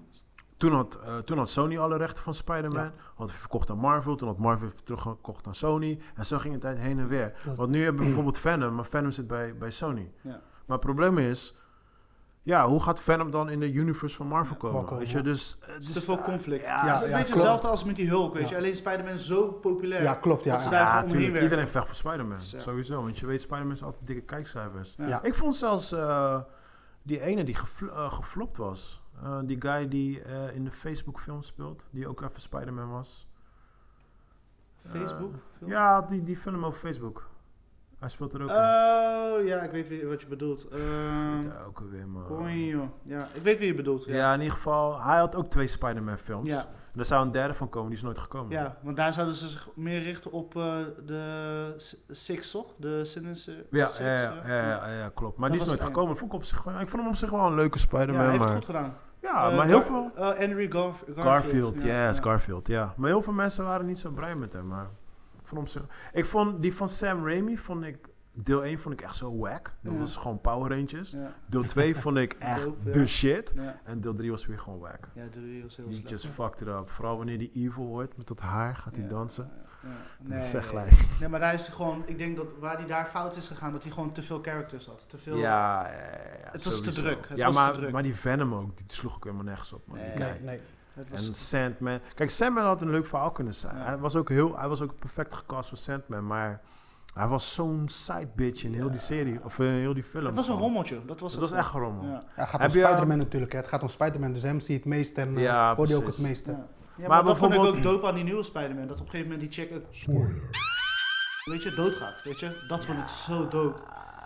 Toen had, eh, toen had Sony alle rechten van Spider-Man.
Ja.
Had hij verkocht aan Marvel. Toen had Marvel weer teruggekocht aan Sony. En zo ging het tijd heen en weer.
Dat-
Want nu hebben we bijvoorbeeld Venom. Maar Venom zit bij, bij Sony.
Ja.
Maar het probleem is... Ja, hoe gaat Venom dan in de universe van Marvel komen?
Welkom,
weet je,
ja.
dus... eh,
Het is
dus,
te veel
eh,
conflict.
ja,
het is
ja,
een
ja,
beetje
klopt.
hetzelfde als met die Hulk, weet je.
Ja.
Alleen Spider-Man is zo populair.
ja, klopt, ja.
dat ze
ja.
daar
Ja,
gewoon omheen
natuurlijk.
werken.
Iedereen vecht voor Spider-Man.
Ja.
Sowieso. Want je weet, Spider-Man is altijd dikke kijkcijfers.
Ja.
Ja.
Ik vond zelfs eh, die ene die gefl- eh, geflopt was. Eh, die guy die eh, in de Facebook film speelt. Die ook even Spider-Man was.
Facebook? film?
Ja, die, die film over Facebook. Hij speelt er ook in.
Oh, ja, ik weet wie- wat je bedoelt.
Ik
Ehm
weet daar ook alweer, maar...
Coin, joh. Ja, ik weet wie je bedoelt. Ja.
Ja, in ieder geval. Hij had ook twee Spider-Man films.
Ja,
En er zou een derde van komen, die is nooit gekomen.
ja, want daar zouden ze zich meer richten op eh, de S- Six, toch? De Sinister
Ja,
Six,
ja, ja,
eh.
ja, ja, ja, klopt. Maar
Dat
die is
was-
nooit
ja.
gekomen. Vond ik, op zich, gewoon- ik vond hem op zich wel een leuke
Ja,
Spider-Man.
hij heeft het
maar,
goed gedaan.
ja,
Eh,
maar heel
Gar-
veel...
eh, Henry Garf- Garfield.
Garfield,
ja,
yes,
ja.
Garfield, ja. Maar heel veel mensen waren niet zo blij met hem, maar ik vond hem zo... Ik vond die van Sam Raimi, vond ik... Deel 1 vond ik echt zo whack. Dat
Ja.
was gewoon Power Rangers.
Ja,
Deel 2 vond
<laughs>
ik echt
Dope, ja.
de shit.
ja.
En deel 3 was weer gewoon whack.
Ja, de was heel
Die
slecht.
just fucked it up. Vooral wanneer die evil wordt met dat haar, gaat hij
Ja,
dansen.
ja, ja.
Nee, dat is echt
Nee,
gelijk.
Nee, maar daar is hij gewoon, ik denk dat waar hij daar fout is gegaan, dat hij gewoon te veel characters had. Te veel.
Ja, ja, ja, ja,
Het was te
sowieso.
druk, het
ja,
was te
maar,
druk.
maar die Venom ook, die sloeg ook helemaal nergens op. Man. Die
Nee.
guy.
Nee, nee.
Het was,
En Sandman. Kijk, Sandman had een leuk verhaal kunnen zijn.
Ja.
Hij, was ook heel, hij was ook perfect gecast voor Sandman, maar hij was zo'n side bitch in heel die serie, of in heel die film.
het was een
gewoon.
rommeltje. Dat was
Het
het.
was echt een rommel. Ja.
Ja.
Ja, het gaat
Heb
om
je, eh,
Spider-Man natuurlijk, hè. het gaat om Spider-Man, dus hem zie je het meest en eh,
Ja,
hoor je ook
precies.
het meeste.
Ja. Ja, maar,
Maar
dat vond ik ook
bijvoorbeeld-
dope aan die nieuwe Spider-Man. Dat op een gegeven moment die check ook, weet je, doodgaat. Weet je, dat vond ik zo dope.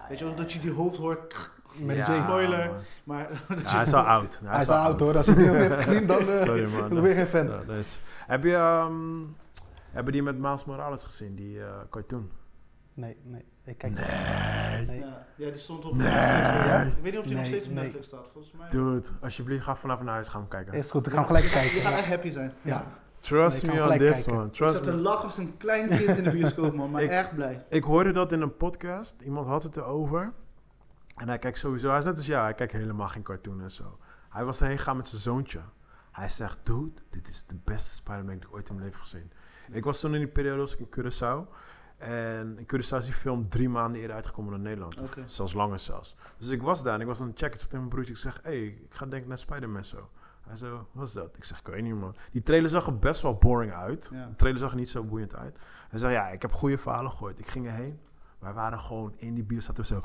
Weet je, ook dat je die hoofd hoort.
Mary
Ja,
Jane.
Spoiler.
man.
Maar
Ja, hij is al oud.
Hij is al oud hoor, als je het niet
<laughs>
hebt gezien, dan eh,
Sorry, man.
dan ben je geen fan.
Ja, dat is- Heb je, ehm, hebben die met Miles Morales gezien, die eh, cartoon?
Nee, nee, ik kijk
Nee.
Nee.
<laughs> ja, ja, die stond op
Nee.
Netflix. ja. Ik weet niet of die nog
Nee,
steeds op
nee.
Netflix staat. Volgens mij.
Dude, alsjeblieft, ga vanavond naar huis gaan kijken.
Is goed, ik ga hem gelijk
Je
kijken.
gaat
Ja.
echt happy zijn.
Ja.
Trust
Nee, ik
me
ga
on
gelijk
this
kijken.
one.
Ik
Trust
zat te
me.
lachen als een klein kind in de bioscoop, man. Maar
Ik-
echt blij.
Ik hoorde dat in een podcast. Iemand had het erover. En hij kijkt sowieso, hij is net als ja, hij kijkt helemaal geen cartoon en zo. Hij was erheen gegaan met zijn zoontje. Hij zegt, dude, dit is de beste Spider-Man die ik ooit in mijn leven heb gezien. Ik was toen in die periode was ik in Curaçao. En in Curaçao is die film drie maanden eerder uitgekomen dan in Nederland. Of
Oké.
Zelfs langer zelfs. Dus ik was daar en ik was aan het checken. Ik zat tegen mijn broertje, ik zeg, hey, ik ga denk ik naar Spider-Man zo. Hij zo, wat is dat? Ik zeg, ik weet niet man. Die trailer zag er best wel boring uit.
Ja.
De trailer zag er niet zo boeiend uit. Hij zei, ja, ik heb goede verhalen gehoord. Ik ging erheen. Wij waren gewoon in die bios zaten we zo.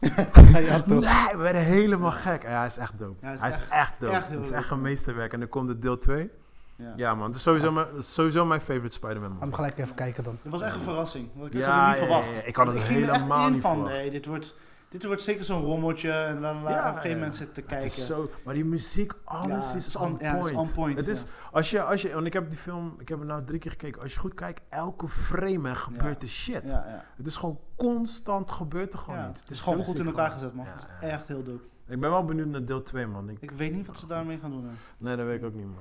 ja, toch.
Nee, we werden helemaal gek. En hij is echt dope.
Ja, hij is
hij is
echt-
echt, dope.
echt heel
het is
dope,
echt een
man.
meesterwerk. En dan komt de deel 2.
Ja.
Ja, man. Het is sowieso, mijn, het is sowieso mijn favorite Spider-Man.
Ga hem
man.
gelijk even kijken dan.
Het was echt een verrassing. Want ik
Ja,
had het niet
ja,
verwacht.
ja, ja. Ik had het
ging er echt
helemaal
in
niet
van,
verwacht.
Nee, dit wordt Dit wordt zeker zo'n rommeltje en dan
Ja,
laat op een
ja.
gegeven moment zitten te
Het
kijken.
is zo, maar die muziek, alles
Ja,
is,
het is
on
on- ja, het is
point.
on point,
Het is,
ja.
als je, als je, want ik heb die film, ik heb hem nou drie keer gekeken. Als je goed kijkt, elke frame hè, gebeurt er shit.
Ja, ja.
Het is gewoon constant gebeurt er gewoon
Ja,
iets.
Het is gewoon
heel
goed in
ziek,
elkaar
man.
gezet, man.
Ja,
Het is
ja.
echt heel dope.
Ik ben wel benieuwd naar deel 2, man. Ik,
Ik weet niet wat ze daarmee gaan doen. hè.
nee, dat weet ik ook niet, man.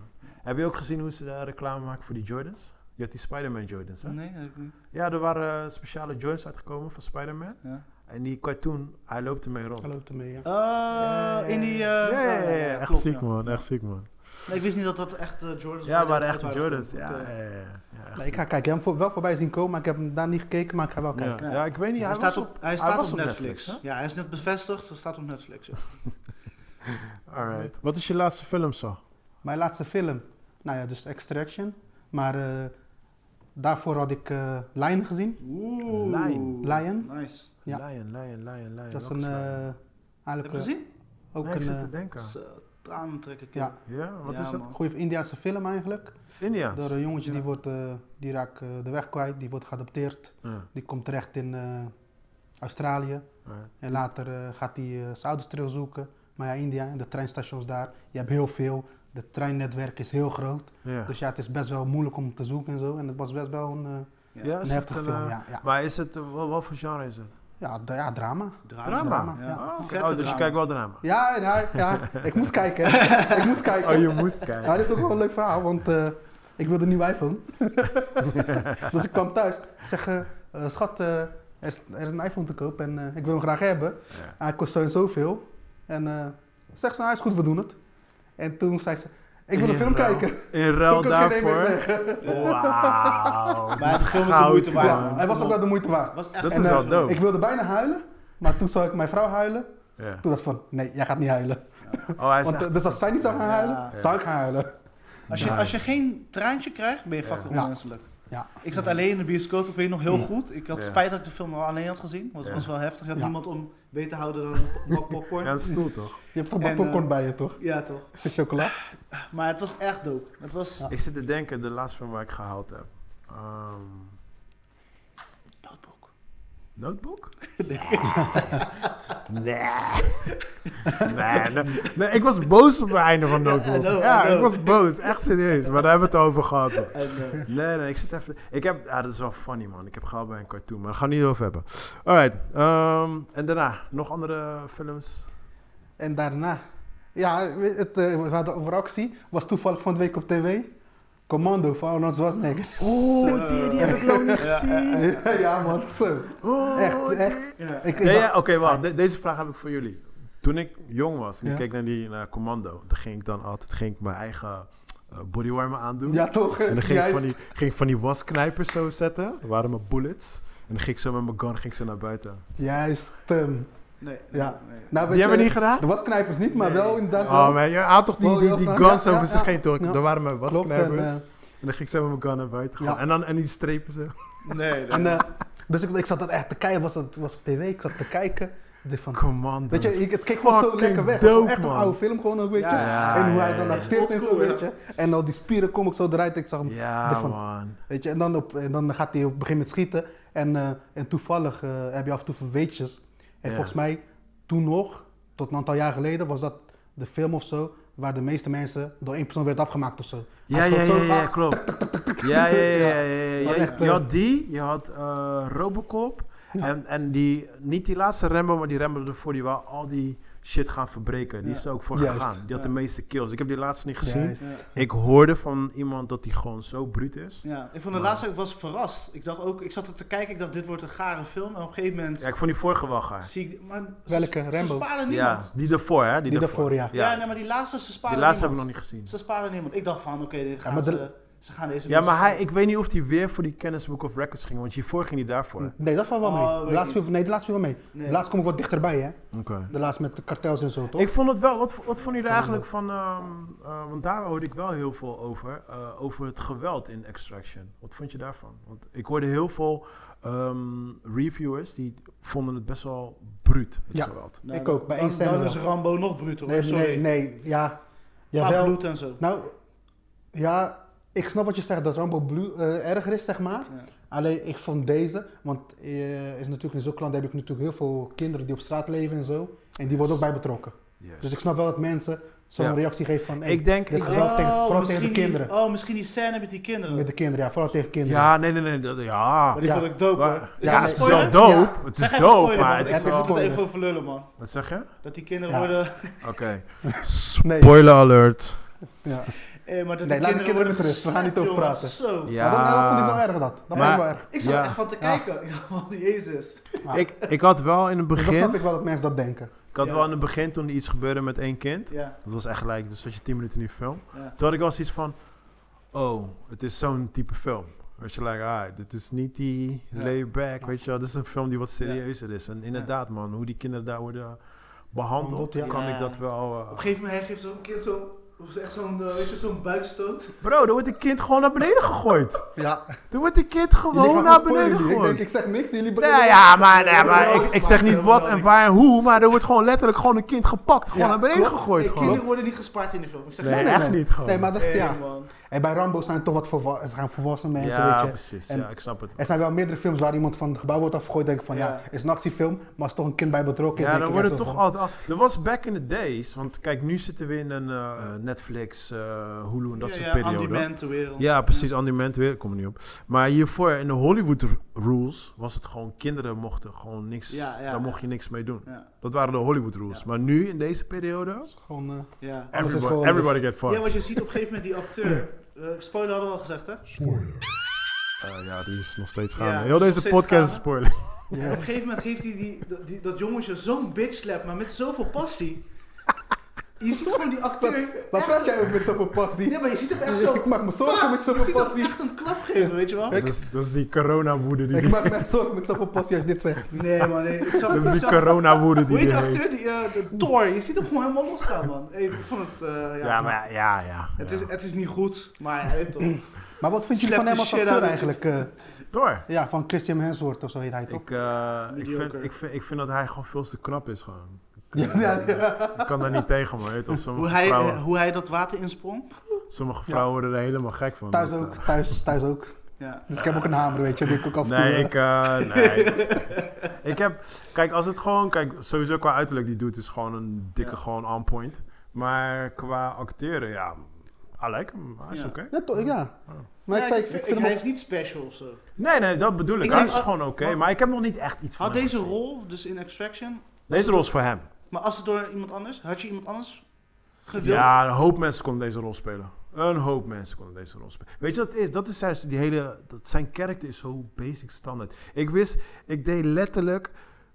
Heb je ook gezien hoe ze daar reclame maken voor die Jordans? Je had die Spider-Man Jordans, hè?
Nee, dat heb ik niet.
Ja, er waren eh, speciale Jordans uitgekomen van Spider-Man.
Ja. Oh,
En die cartoon, hij loopt ermee rond.
Hij loopt ermee, ja.
Eh, in die... eh,
ja, ja, ja, ja, echt
klopt,
ziek,
ja.
man. Echt ziek, man.
Nee, ik wist niet dat dat echt eh, Jordans
Ja, maar
dat
echt eh.
waren eh,
Jordans.
goed,
Ja,
oké.
ja, ja, ja. Ja, echt
Nee, ik ga kijken. Ik heb hem voor- wel voorbij zien komen, maar ik heb hem daar niet gekeken, maar ik ga wel
Ja.
kijken.
Ja.
ja, ik weet niet.
Hij,
Hij,
staat
was
op, hij staat
was
op
op
Netflix.
Netflix,
ja, hij is net bevestigd. Hij staat op Netflix. Ja.
Alright. Wat is je laatste film zo?
Mijn laatste film, nou ja, dus Extraction. Maar eh, daarvoor had ik eh Lion gezien.
Oeh.
Lion.
Lion?
Nice.
Ja.
Lion, Lion, Lion, Lion.
Dat is
Welke
een,
Lion?
eh eigenlijk
Heb je
eh,
gezien?
ook
Nee, ik zit te
een eh,
denken.
Zo, Tranen trekken. kind.
Ja.
Ja, wat
Ja,
is dat?
man.
eh, goede Indiaanse film eigenlijk.
India.
Door een jongetje
Ja.
die, wordt, eh, die raakt eh, de weg kwijt, die wordt geadopteerd.
Ja,
Die komt terecht in eh, Australië.
alright.
En later eh, gaat hij eh, zijn ouders terugzoeken. Maar ja, India en de treinstations daar, je hebt heel veel. Het treinnetwerk is heel groot.
Ja.
Dus ja, het is best wel moeilijk om te zoeken en zo. En het was best wel een, eh,
ja.
Ja,
een
is het
heftige
een,
film,
eh,
ja. ja.
Maar is het, eh, wat, wat voor genre is het?
Ja, d- ja, drama.
Drama.
Drama,
Ja.
ja.
Oh, oké.
Vette
Oh, dus je
drama.
kijkt wel drama.
Ja, ja, ja. ik moest
<laughs>
kijken. ik moest kijken.
Oh,
moest
Ja, dit is ook wel een leuk verhaal, want eh, ik wilde een nieuwe iPhone. <laughs> dus ik kwam thuis. Ik zeg, eh, eh, schat, eh, er, is, er is een iPhone te koop en eh, ik wil hem graag hebben.
Ja.
Hij kost zo en zoveel. En eh zegt ze, nou, is goed, we doen het. En toen zei ze, ik wil een
In
film
ruil-
kijken.
In
Toen
ruil
kon ik geen nee meer
daarvoor.
zeggen.
Wauw. dit
Maar de film is de
goud,
moeite waard.
man.
Ja, hij was ook wel de moeite waard. eh,
Was echt
Dat
een
is
leuk
wel
film.
dope.
Ik wilde bijna huilen, maar toen zag ik mijn vrouw huilen.
Ja.
Toen dacht ik van, nee, jij gaat niet huilen.
Oh, hij is
Want,
echt-
eh, dus als zij niet zou gaan
Ja.
huilen,
Ja.
zou ik gaan huilen.
Als je,
Ja.
als je geen traantje krijgt, ben je fucking
Ja.
onmenselijk.
Ja. Mm.
Ik zat alleen in de bioscoop, ik weet nog heel goed. Ik had
Ja.
spijt dat ik de film al alleen had gezien, want het
Ja.
was wel heftig. Je had
Ja.
niemand om beter te houden
<laughs>
dan een bak popcorn.
Ja,
ja.
een stoel toch?
Je hebt toch maar
En, eh,
popcorn bij je, toch?
toch.
Met chocola.
Maar het was echt dope. Het was
Ja.
Ik zit te denken, de laatste film waar ik gehaald heb. Ehm
notebook. <laughs>
notebook? <laughs> Nee. nee. nee, nee, ik was boos op het einde van Notebook.
I know, I
ja, ik
know.
was boos. Echt serieus. Maar daar hebben we het over gehad. man.
En,
<laughs>
eh,
Nee, nee, ik zit even... Ik heb... Ah, dat is wel funny, man. Ik heb gehaald bij een cartoon, maar daar gaan we het niet over hebben. Alright. ehm, en daarna, nog andere films?
En daarna, ja, we- het, eh, we hadden over actie, was toevallig van de week op tv. Commando van Arnold Schwarzenegger.
Oh.
Zo.
nog <laughs> niet
Ja,
<laughs> ja man, zo.
Oh,
Echt,
die- Ah.
echt.
ja.
Ik, ik
Nee, ja,
dacht-
oké, wacht. De- deze vraag heb ik voor jullie. Toen ik jong was en ik
Ja.
keek naar die naar commando, dan ging ik dan altijd ging ik mijn eigen eh, bodywarmer aandoen.
ja toch?
En dan ging ik,
Juist.
van die, ging ik van die wasknijpers zo zetten. Dat waren mijn bullets. En dan ging ik zo met mijn gun ging ik zo naar buiten.
Juist. ehm.
Nee, nee,
Ja.
nee.
Nou,
Die hebben we niet gedaan?
Er was knijpers niet, maar
Nee.
wel inderdaad.
Oh
wel.
man, je had toch die,
Wel,
die,
ja,
die
ja,
guns
ja,
over
ja,
ze geen toch?
ja.
Dat waren mijn
Klopt, en,
wasknijpers. En,
eh,
dan ging ik zo met mijn gun naar buiten gaan.
Ja.
En, dan, en die strepen zo.
Nee, nee.
en, eh, dus ik, ik zat dat echt te kijken, was het was op tv, ik zat te kijken. Ik dacht van,
Commando.
weet je, ik, het keek gewoon zo
Fucking
lekker weg.
dope,
Het was echt een
man.
oude film gewoon ook, weet je.
Ja,
ja,
en hoe
ja,
hij dan
ja,
naar speelt en zo,
Oldschool,
weet je. En al die spieren kom ik zo eruit, ik zag hem
ja,
dacht van,
man.
Weet je, en dan, op, en dan gaat hij op begin met schieten. En, eh, en toevallig eh, heb je af en toe verweetjes. En
Ja.
volgens mij toen nog, tot een aantal jaar geleden, was dat de film of zo. Waar de meeste mensen door één persoon werd afgemaakt of zo.
Ja,
Hij
ja,
schoot zo
ja, ja,
vaak.
klopt. Ja, ja, ja, ja, ja, ja.
Wat
Je-
echt,
Je
eh,
had die, je had eh, Robocop.
Ja.
En, en die, niet die laatste Rambo, maar die Rambo ervoor, die wou al die shit gaan verbreken. Die
Ja.
is er ook voor
Juist.
gegaan. Die had de
Ja.
meeste kills. Ik heb die laatste niet gezien.
Juist.
Ja.
Ik hoorde van iemand dat die gewoon zo bruut is.
Ja, ik vond de laatste, ik was verrast. Ik dacht ook, ik zat er te kijken, ik dacht dit wordt een gare film. En op een gegeven moment
Ja, ik vond die vorige wel gaar.
zie ik, maar ze-
Welke?
Ze
Rambo?
sparen
Ja,
niemand.
die ervoor, hè? Die,
Die daarvoor, ja.
Ja,
Ja,
nee, maar die laatste, ze sparen
die laatste heb ik
niemand.
nog niet gezien.
Ze sparen niemand. Ik dacht van, oké, dit gaan
maar de-
ze, ze gaan deze
Ja, maar
mensen
hij, ik weet niet of die weer voor die Guinness Book of Records ging, want hiervoor ging die daarvoor. Oké.
Nee, dat valt wel
Oh,
mee.
weet
de
ik
laatste viel, nee, de laatste viel wel mee.
Nee.
De laatste kom ik wat dichterbij, hè. De laatste met de kartels en zo, toch?
Ik vond het wel, wat, wat vonden jullie eigenlijk van, ehm, eh, want daar hoorde ik wel heel veel over, eh, over het geweld in Extraction. Wat vond je daarvan? Want ik hoorde heel veel ehm, reviewers die vonden het best wel bruut, het
Ja.
geweld.
Nou,
ik ook, bij
dan-
één scène
Dan
wel.
is Oh, Rambo nog bruter, hoor.
nee, Nou,
Sorry.
nee, nee, ja.
Maar
Jawel.
bloed en zo.
Nou, ja, ik snap wat je zegt, dat Rambo Blue eh, erger is, zeg maar.
Ja.
Alleen ik vond deze, want eh, is natuurlijk in zo'n land heb ik natuurlijk heel veel kinderen die op straat leven en zo. En die worden ook bij betrokken.
Yes.
Dus ik snap wel dat mensen zo'n
Ja.
reactie geven van. hey,
Ik denk-
dit
ik
geweld
Oh,
tegen, vooral
misschien
tegen de
die-
kinderen.
oh, misschien die scène met die kinderen.
Met de kinderen, ja, vooral tegen kinderen.
ja, nee, nee, nee. Dat, ja.
Maar die
Ja.
vond ik dope,
Maar-
hoor. Is
ja,
dat
het
een
is wel
spoiler?
dope.
Ja.
Het
Zeg
is
even
dope,
spoiler, man.
maar het
Ja,
is
het is
wel...
een-
moet het
spoiler.
even over lullen, man.
Wat zeg je?
Dat die kinderen
Ja.
worden... <laughs>
Oké.
Nee.
Spoiler alert.
Ja.
Eh, maar dat
Nee,
die
laat de kinderen
worden
met rust. We gaan niet over
geslapt,
praten.
jongen. Zo.
Ja.
Maar dat, dat vond ik wel erg dat. Dat
Maar-
vond ik wel erg.
Ik zat
Ja.
er echt van te
Ja.
kijken. <laughs> Ik dacht, man, jezus.
Ja.
Ik, ik had wel in het
Dus dat snap
begin...
ik wel dat mensen dat denken.
Ik had
Ja.
wel in het begin toen er iets gebeurde met één kind.
Ja,
Dat was echt gelijk, dus zat je 10 minuten in die film.
ja.
Toen had ik wel zoiets van, oh, het is zo'n type film. Weet je, like, ah, dit is niet die
Ja.
layback, weet je wel. Dit is een film die wat serieuzer is. En inderdaad, man, hoe die kinderen daar worden behandeld,
Behandeld, ja.
kan
Ja.
ik dat wel... eh,
Op een gegeven moment hij geeft zo'n kind zo'n... dat was Echt zo'n, eh, weet je, zo'n buikstoot.
Bro, dan wordt een kind gewoon naar beneden gegooid.
Ja.
Dan wordt een kind gewoon naar beneden
Ik denk,
gegooid.
ik zeg niks, jullie
Nee, ja, maar, nee, maar ik,
Geweldig,
ik zeg
man,
niet wat en
geweldig.
waar en hoe, maar er wordt gewoon letterlijk gewoon een kind gepakt. Gewoon
Ja,
naar beneden
klopt.
gegooid.
Hey,
Gewoon.
Eh, kinderen worden niet gespaard in de film. Ik zeg,
Nee,
nee,
nee,
echt
nee.
niet gewoon.
Nee, maar dat is, ja.
man.
En bij Rambo zijn het toch wat volwa- het gaan volwassen mensen,
ja,
weet je.
precies.
En-
ja, ik snap het.
Er zijn wel meerdere films waar iemand van het gebouw wordt afgegooid. Denk ik van, ja,
Ja.
is een actiefilm, maar als toch een kind bij betrokken is,
Ja,
denk
dan
ik
wordt
ja,
het
zo
toch
van-
altijd af. Er was back in the days, want kijk, nu zitten we in een eh, Netflix, eh, Hulu en dat
ja,
soort
ja,
perioden.
Andy wereld.
Ja, precies, Andiment weer, ik kom er niet op. Maar hiervoor, in de Hollywood r- rules, was het gewoon, kinderen mochten gewoon niks,
Ja, ja,
daar
ja.
mocht je niks mee doen.
Ja,
Dat waren de Hollywood rules.
Ja.
Maar nu, in deze periode,
Gewoon, eh,
ja.
is
everybody,
gewoon-
everybody get
ja,
fucked.
want je ziet op een gegeven moment die acteur. eh spoiler hadden we al gezegd, hè?
Eh, ja, die is nog steeds
Ja,
gaande.
die
Heel
is nog
deze
steeds
podcast is
gaande.
spoiler.
<laughs> ja.
Op een gegeven moment geeft hij die, dat- die- dat jongetje zo'n bitch slap, maar met zoveel passie. Je ziet gewoon die acteur.
Waar praat jij over met zoveel passie?
Nee, maar je ziet hem echt zo.
Ik maak me zorgen
Plaats.
met
Je
zoveel
ziet hem
passie.
echt een klap geven, weet je wel?
Dat is, dat is die corona-woede die,
Ik
die,
maak me echt zorgen met zoveel passie als je dit zegt.
Nee, man, nee. Ik zag
dat is
ik
die
zag-
corona-woede die
Hoe heet
die
die
heeft.
acteur? Die, eh, de Thor. Je ziet hem gewoon helemaal losgaan, man. Hey, ik vond het. eh, ja,
Ja, maar ja, ja. ja.
Het, is, het is niet goed, maar hij weet toch.
Maar wat vind je
Slap
van hem
the
als
shit
acteur
out of
eigenlijk? eh?
Door.
ja, van Christian Hemsworth of zo heet hij toch?
Ik, eh, ik, vind,
Mediocre.
ik, vind, ik vind dat hij gewoon veel te knap is gewoon.
<laughs> Ja, ja, ja.
Ik kan daar niet tegen, man. Weet je, wel.
Hoe
sommige,
hij,
vrouwen,
eh, hoe hij dat water insprong.
sommige vrouwen worden er helemaal gek van.
Thuis
Dat,
ook,
eh,
thuis, thuis ook.
Ja.
Dus ik heb ook een hamer, weet je, die ik ook af en toe...
nee,
eh,
ik, eh,
<laughs>
nee. ik heb... Kijk, als het gewoon... Kijk, sowieso qua uiterlijk die doet is gewoon een dikke
Ja.
gewoon on point. Maar qua acteren, ja... I like hem. Hij is
Ja.
oké.
Ja, toch, ja. Maar
Ja,
ik, zei,
ik-
ik, ik
ik-
vind hem
hij
ook-
is niet special of zo.
Nee, nee, dat bedoel ik.
Ik
hij
denk-
is gewoon oké.
had-
maar ik heb nog niet echt iets van
Had
hem
deze
gezien.
rol, dus in Extraction.
Deze rol is voor hem.
Maar als het door iemand anders. Had je iemand anders gewild?
Ja, een hoop mensen konden deze rol spelen. Een hoop mensen konden deze rol spelen. Weet je wat het is? Dat is juist die hele, dat zijn karakter is zo basic standaard. Ik wist, ik deed letterlijk,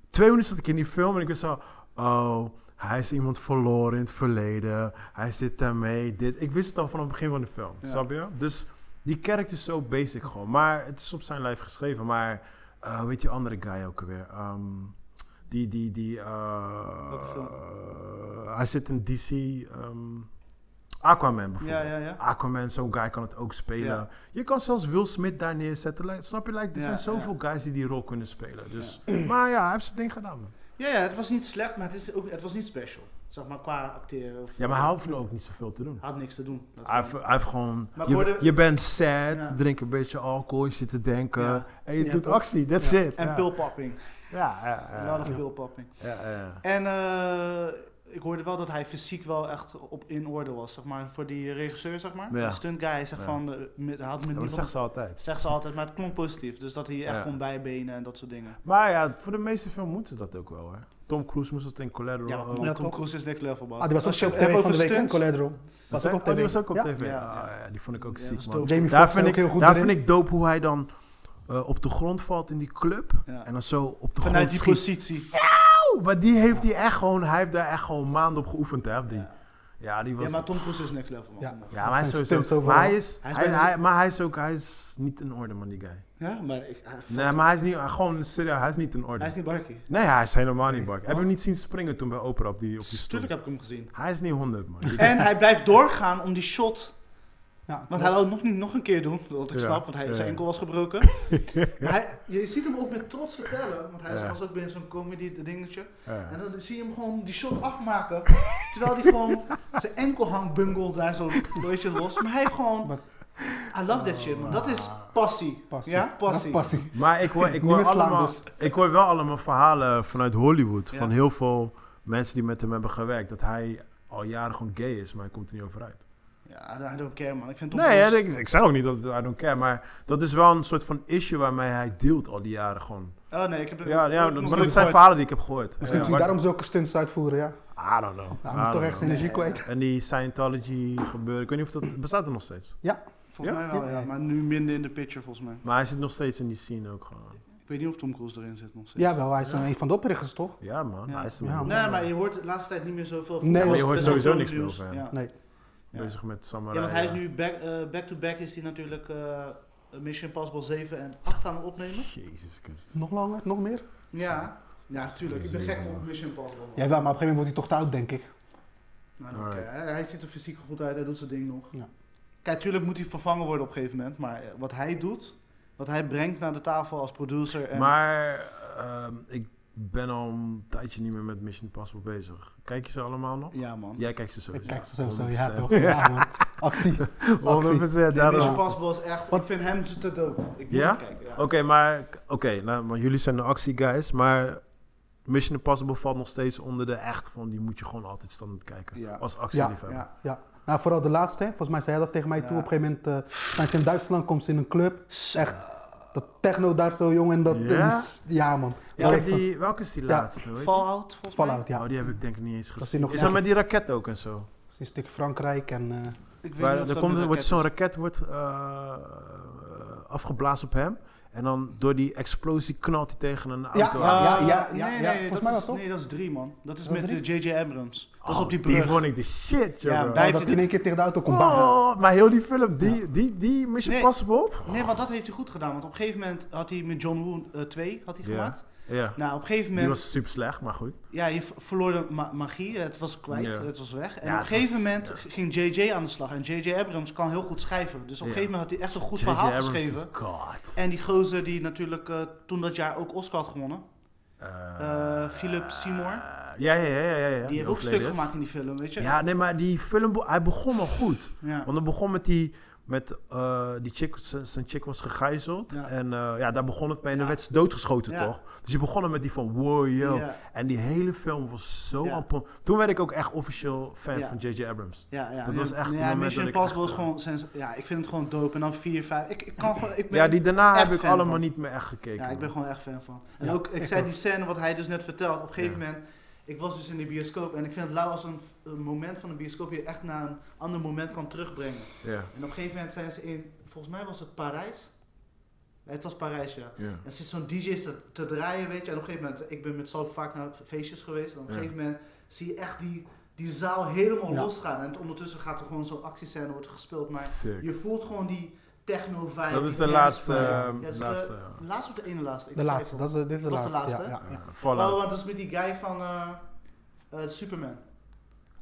twee minuten zat ik in die film en ik wist al, oh, hij is iemand verloren in het verleden. Hij zit daarmee, dit. Ik wist het al van het begin van de film,
Ja.
snap je? Dus die karakter is zo basic gewoon. Maar het is op zijn lijf geschreven. Maar, eh, weet je, andere guy ook alweer. Ehm, die, die, die, eh,
Welke film?
eh, hij zit in DC. ehm, Aquaman bijvoorbeeld.
Ja, ja, ja.
Aquaman, zo'n guy kan het ook spelen.
Ja.
Je kan zelfs Will Smith daar neerzetten. like, snap je? Like, er
Ja,
zijn zoveel guys die die rol kunnen spelen. Dus, Maar ja, hij heeft zijn ding gedaan. Man.
Ja, ja, het was niet slecht, maar het, is ook, het was niet special. Zeg maar qua acteren. Of,
Ja, maar hij hoeft nu ook niet zoveel te doen.
Hij had niks te doen. Dat
Hij heeft,
gewoon.
hij heeft gewoon...
Maar
Je,
worden-
je bent sad,
Ja.
drink een beetje alcohol, je zit te denken.
Ja.
En je
Ja,
doet
toch?
actie, that's
Ja.
it.
En
ja.
pillpopping.
Ja, ja,
A
ja.
lot of
Ja,
pillpopping.
ja, ja.
En eh, ik hoorde wel dat hij fysiek wel echt op in orde was, zeg maar. Voor die regisseur, zeg maar.
Ja.
De stunt guy, hij zegt
Ja.
van, eh, met-
Ja,
hij had met
maar dat
niemand...
zegt ze altijd.
Zegt ze altijd, maar het klonk positief. Dus dat hij echt
Ja.
kon bijbenen en dat soort dingen.
Maar ja, voor de meeste films moeten ze dat ook wel, hè. Tom Cruise moest dat in Collateral...
Ja, maar Tom,
Ja,
Tom
toch?
Cruise is next level, man.
Ah, die was ook
Als je
show
het hebt
van de
over
week, hè,
stunts-
Collateral.
Dat
Was ook
zijn-
op
oh, die
tv.
was ook op
Ja.
tv.
Ja,
Ah, ja, die vond ik ook
Ja, dat
ziek,
is
man.
dope.
Jamie
Daar
Foxx
vind
ook
ik,
heel goed
daar
erin.
vind ik dope hoe hij dan eh, op de grond valt in die club.
Ja.
En dan zo op de
Vanuit
grond
die
schiet.
positie.
Auw, maar die heeft hij echt gewoon, hij heeft daar echt gewoon maanden op geoefend, hè. op Die. Ja.
Ja.
die was...
Ja, maar Tom Cruise is next level, man.
Ja.
Kom op.
Ja, maar hij is
Zijn
sowieso...
stunts
Maar
overal.
hij is,
Hij
hij
is
hij,
bijna-
maar hij is ook, hij is niet in orde, man, die guy.
Ja, maar ik, hij,
Nee, maar hij is niet, gewoon serieus, hij is niet in orde.
hij is niet barkie.
Nee, hij is helemaal niet bak. Heb je hem niet zien springen toen bij Oprah op die, op die stoel?
Tuurlijk heb ik hem gezien.
Hij is niet 100, man.
<laughs>
Die-
En hij blijft doorgaan om die shot.
Ja, Nou,
Want hij wou het nog niet nog een keer doen. Wat ik
Ja,
snap, want hij, zijn
ja.
enkel was
<laughs>
gebroken. Maar hij, je ziet hem ook met trots vertellen. Want hij
Ja.
was ook binnen zo'n comedy dingetje.
Ja.
En dan zie je hem gewoon die shot afmaken. terwijl hij gewoon zijn enkel hangt bungle daar zo een beetje los. Maar hij heeft gewoon...
Wat?
Hij I love that shit, man. Dat is
Ah.
passie.
Passie.
Ja,
Dat is
passie.
passie.
Maar ik <laughs> hoor, ik,
Niet
hoor
met slaan
allemaal,
dus.
ik hoor wel allemaal verhalen vanuit Hollywood.
Ja.
Van heel veel mensen die met hem hebben gewerkt. Dat hij al jaren gewoon gay is, maar hij komt er niet over uit.
Ja, I don't- I don't care, man. Ik vind Tom
Nee,
Cruise-
hè, ik, ik zei ook niet dat I don't care. Maar dat is wel een soort van issue waarmee hij deelt al die jaren gewoon.
Oh nee, ik
Ja,
heb
ja
nog
dat, maar
nooit
dat zijn
gehoord.
verhalen die ik heb gehoord.
Misschien
ja,
moet hij daarom zulke stunts uitvoeren, ja.
maar- I don't know.
Hij
I
moet
don't
toch echt
know.
zijn energie
Nee,
kwijt.
En die Scientology gebeuren, ik weet niet of dat bestaat er nog steeds.
Volgens
Ja?
mij wel, ja. Maar nu minder in de picture, volgens mij.
Maar hij zit nog steeds in die scene ook gewoon.
Ik weet niet of Tom Cruise erin zit nog steeds.
Jawel, hij is een van de oprichters, toch?
Ja man,
Ja.
hij is er
Ja,
mee
man.
Nee, maar je hoort de laatste tijd niet meer zoveel
Nee,
hem.
maar je
Dat
hoort
is best
sowieso
wel
niks
veel
meer
nieuws.
over hem.
Ja.
Nee.
Ja.
bezig met Samurai.
Ja, want hij is
ja.
nu back- eh, back-to-back is hij natuurlijk eh, Mission Impossible 7 en 8 aan het opnemen.
Jezus Christus.
Nog langer, nog meer?
Ja, ja, natuurlijk. Ik ben gek op Mission Impossible. man.
Jawel, maar op een gegeven moment wordt hij toch te oud, denk ik.
Nou, dan
Alright.
oké. Hij hij ziet er fysiek goed uit, hij doet zijn ding nog.
Ja.
Kijk, tuurlijk moet hij vervangen worden op een gegeven moment, maar eh, wat hij doet, wat hij brengt naar de tafel als producer. En
Maar ehm, ik ben al een tijdje niet meer met Mission Impossible bezig. Kijk je ze allemaal nog?
ja, man.
Jij kijkt ze sowieso.
Ik kijk ze sowieso, ja
100%.
toch? Ja man, actie.
<laughs>
Actie.
100%
Nee,
daarom.
Mission
Oké,
Impossible is echt, ik vind hem te dope. Ik moet
Ja?
het kijken. Ja?
maar, oké, nou, maar jullie zijn de actieguys, maar Mission Impossible valt nog steeds onder de echt van die moet je gewoon altijd standaard kijken.
Ja.
Als actieliefhebber.
Ja.
Ja, nou vooral de laatste, hè. volgens mij zei hij dat tegen mij
Ja.
toen. Op een gegeven moment eh, zijn ze in Duitsland, komt ze in een club.
Zo.
Echt, dat techno daar zo jong en dat... en die
Ja?
s- ja man.
Ja,
Kijk, van-
die, welke is die
Ja.
laatste? weet je?
Fallout, volgens
Fallout, ja.
Oh, die heb ik denk ik niet eens
Dat is
gezien.
die nog
Is dat
net-
met die raket ook en zo?
Ze is tegen Frankrijk en... eh,
mij. Ik weet niet
Waar,
of
er
dat
komt,
met
er wordt
raket
zo'n raket wordt, eh, afgeblazen op hem. En dan door die explosie knalt hij tegen een auto.
is.
Ja,
aan.
ja,
Ah,
ja, ja,
nee,
ja,
nee,
volgens
dat
mij
is-
wel, Oh, toch?
Nee, dat is drie, man. Dat is
Is dat
met eh, J.J. Abrams. Dat is
Oh,
op die
Die
brug.
vond ik de shit, joh.
Ja,
bro.
daar heeft hij
dat hij in
de-
één keer tegen de auto komt. bam.
Oh, maar heel die film, die, die, die Mission
Nee.
Impossible.
Nee, want dat heeft hij goed gedaan. Want op een gegeven moment had hij met John Woo eh, 2 had hij
Ja.
gemaakt.
Ja,
Nou, op een gegeven
die
moment...
was super slecht, maar goed.
Ja, je v- verloor de ma- magie. Het was kwijt,
Ja.
het was weg.
Ja,
En op een
het
gegeven
was-
moment
ja.
ging JJ aan de slag. En JJ Abrams kan heel goed schrijven. Dus op een
Ja.
gegeven moment had hij echt een goed
J.J.
verhaal
Abrams
geschreven.
is God.
En die gozer die natuurlijk eh, toen dat jaar ook Oscar had gewonnen.
Eh,
eh, Philip Seymour.
ja, ja, ja, ja, ja, ja.
die heeft ook
overleden
stuk
is.
gemaakt in die film, <laughs> weet je?
Ja, nee, maar die film, be- hij begon al goed.
Ja.
Want het begon met die, met, eh, die chick, z- zijn chick was gegijzeld.
Ja.
En eh, ja, daar begon het mee. En dan
Ja.
werd ze doodgeschoten,
Ja.
toch? Dus je begon dan met die van, wow, yo.
Ja,
En die hele film was zo...
Ja.
on point. Toen werd ik ook echt officieel fan
Ja.
van J.J. Abrams.
ja, ja.
Dat was echt het
ja,
moment
Mission
dat ik
Impossible
echt, eh,
is gewoon... sens- Ja, ik vind het gewoon dope. En dan 4, 5... Ik, ik kan gewoon... Ik ben,
Ja, die daarna heb
echt
ik
fan
allemaal
van.
niet meer echt gekeken.
Ja, ik ben gewoon echt fan van. En
Ja,
ook, ik
ik
zei
ook.
die scène wat hij dus net vertelt. Op een gegeven
Ja.
moment, ik was dus in de bioscoop en ik vind het lauw als een, een moment van de bioscoop je echt naar een ander moment kan terugbrengen.
Ja,
En op een gegeven moment zijn ze in, volgens mij was het Parijs. Nee, Het was Parijs, ja.
ja.
En zit zo'n DJ te, te draaien, weet je. En op een gegeven moment, ik ben met Salp vaak naar feestjes geweest. En op een
Ja.
gegeven moment zie je echt die, die zaal helemaal
Ja.
losgaan. En ondertussen gaat er gewoon zo'n actiescène worden gespeeld. Maar
Sick.
je voelt gewoon die techno-vibe.
Dat
die
is de
dance
laatste...
vibe.
ja.
ehm,
Ja, het is de-
laatste
de laatste of de ene laatste? Ik
De laatste,
twijfel.
dat is de, dit is de
Was de
laatste.
laatste?
Ja,
eh,
ja,
Fallout.
Oh, want dat is met die guy van eh, eh, Superman.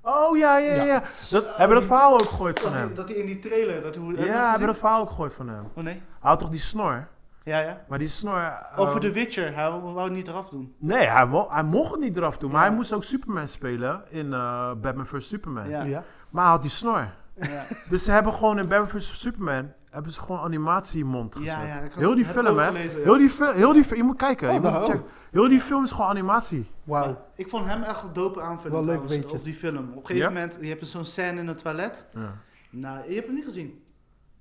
Oh, ja, ja, ja.
Ja.
ja. Dat,
Zo,
hebben we dat
die-
verhaal ook gegooid
Dat
van
hij,
hem?
dat hij in die trailer. Dat hoe, heb je
Ja,
gezien?
hebben we dat verhaal ook gegooid van hem?
Oh nee.
Hij had toch die snor?
Ja, ja.
Maar die snor...
Over
ehm,
The Witcher. Hij wou, wou het niet eraf
<laughs>
doen.
Nee, hij, mo- hij mocht het niet eraf doen. Maar
Ja.
hij moest ook Superman spelen in eh, Batman vs. Superman.
Ja.
ja.
Maar hij had die snor.
Ja,
Dus ze hebben gewoon in Batman vs. Superman... hebben ze gewoon animatiemond gezet.
ja. ja ik had-
heel die
heb ik
film, hè?
overgelezen, ja.
Heel die, fil- heel die fi- Je moet kijken.
Oh,
je moet
daar
het
ook.
checken. Heel die film is gewoon animatie.
Wauw.
Ik vond hem echt een dope aanvulling
Wel leuk
trouwens,
weetjes.
op die film. Op een gegeven
Ja?
moment, je hebt zo'n scène in het toilet.
Ja.
Nou, je hebt hem niet gezien.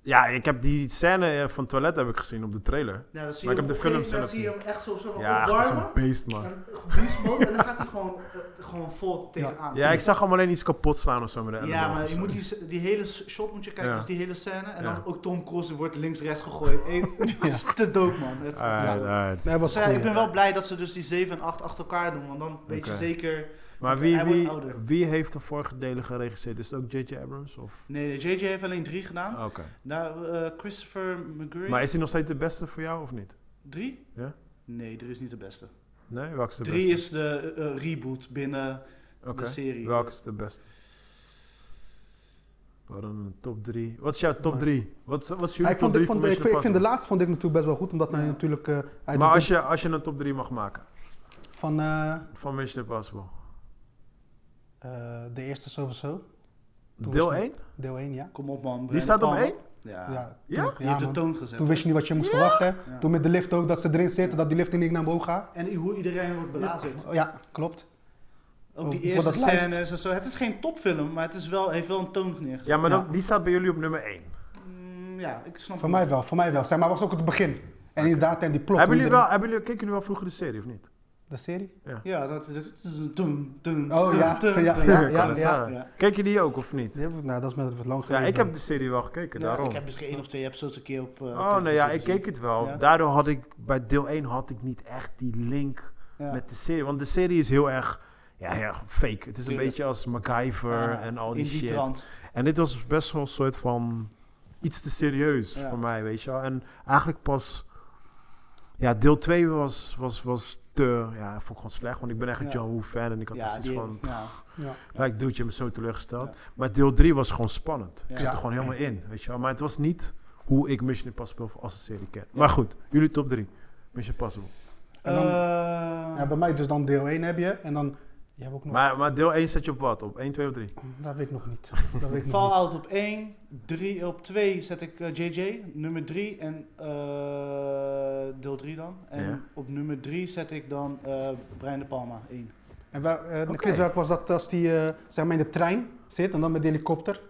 ja, ik heb die scène eh, van het toilet heb ik gezien op de trailer.
Ja, dan zie
Maar
je
ik
hem
heb
op
de film
een gegeven
zelf
moment zie je hem echt zo, zo
Ja, echt dat is
opwarmen.
een beest, man.
En beast mode, en dan gaat hij gewoon, eh, gewoon vol tegenaan.
Ja, ik zag hem alleen iets kapot slaan of zo met de
Ja,
elleboog of
maar je
zo.
moet die, die hele s- shot moet je kijken,
Ja.
dus die hele scène. En
Ja.
dan ook Tom Cruise wordt links-rechts
<laughs>
gegooid. <laughs> Het is te dope, man. Het is echt
Alright,
dope.
alright.
Nee, was
Dus ja,
goed.
ik ben wel blij dat ze dus die 7 en 8 achter elkaar doen, want dan weet je
Oké.
zeker...
Maar
Want
wie,
hij wordt
wie,
ouder.
wie heeft de vorige delen geregisseerd? Is het ook J.J. Abrams? Of?
Nee, nee, JJ heeft alleen 3 gedaan.
Oké.
Ah,
Nou, eh, Christopher McGurry...
Maar is hij nog steeds de beste voor jou of niet?
3?
Ja.
Nee, 3 is niet de beste.
Nee, welke is de
3
beste?
is de eh, eh, reboot binnen
Oké.
de serie.
Welke is de beste? We hadden een top 3. Wat is jouw top 3? Wat, is- wat is
Ja,
jullie
ik, vond,
top 3
ik, vond, ik, vind- ik vind de laatste vond ik natuurlijk best wel goed, omdat hij
Ja.
natuurlijk... eh, uit
Maar
de-
als je, als je een top 3 mag maken
Van eh,
van Mission Impossible.
eh, de eerste sowieso, Toen
Deel
was
1?
deel 1, ja.
Kom op, man.
Die
Brian
staat op
Palmer.
1?
Ja.
Ja,
Ja?
toen-
Die heeft de
man.
toon gezet.
Toen wist je niet wat je moest verwachten.
Ja.
Toen met de lift ook, dat ze erin zitten, dat die lift niet naar omhoog gaat.
En hoe iedereen wordt belazerd.
Ja, klopt.
Ook die
Voor
eerste
dat lijst.
scènes en zo. Het is geen topfilm, maar het is wel, heeft wel een toon neergezet.
Ja, maar
Ja.
dat, die staat bij jullie op nummer 1.
Mm, ja, ik snap
Voor
het.
mij wel, voor mij wel. Zeg maar, was ook het begin. En inderdaad, en die plot.
Hebben jullie, wel,
hoe iedereen-
hebben jullie, keken jullie wel vroeger de serie of niet?
De serie?
Ja, dat, dat is een toen, toen,
Oh
toen,
ja,
toen,
ja,
toen.
ja,
kan
ja.
het
ja.
zijn. eh, Keken jullie die ook of niet?
Die hebben we- Nou, dat is met wat lang
Ja,
geleden.
ik heb de serie wel gekeken,
Ja,
daarom.
Ik heb misschien één of twee episodes een keer op... eh, op
Oh nee, ja,
televisie
ik
gezien.
keek het wel.
Ja.
Daardoor had ik bij deel 1 had ik niet echt die link
Ja.
met de serie. Want de serie is heel erg ja, heel erg fake. Het is een
Tuurlijk.
beetje als MacGyver
Ah,
en al die
in die
shit.
trant.
En dit was best wel een soort van iets te serieus
Ja.
voor mij, weet je wel. En eigenlijk pas, ja, deel 2 was, was, was te, ja, vond ik gewoon slecht. Want ik ben echt een
Ja.
John Woo fan en ik had
Ja,
precies
die,
van,
ja.
Ja.
like, dude, je hebt me zo teleurgesteld.
Ja.
Maar deel 3 was gewoon spannend.
Ja.
Ik zat er
Ja.
gewoon helemaal in, weet je wel. Maar het was niet hoe ik Mission Impossible als een serie ken. Maar goed, jullie top 3. Mission Impossible.
En dan-
Eh,
Ja, bij mij dus dan deel 1 heb je. En dan... Je hebt ook nog...
Maar, maar deel 1 zet je op wat? Op 1, 2 of 3?
Dat weet ik nog niet. <laughs> Dat weet ik nog niet.
Fallout op 1, 3 op 2 zet ik eh, JJ, nummer 3 en eh, deel 3 dan. En
Ja.
op nummer 3 zet ik dan eh Brian de Palma 1.
En wel, eh,
Oké.
Chris, welk was dat als die eh, zeg maar in de trein zit en dan met de helikopter?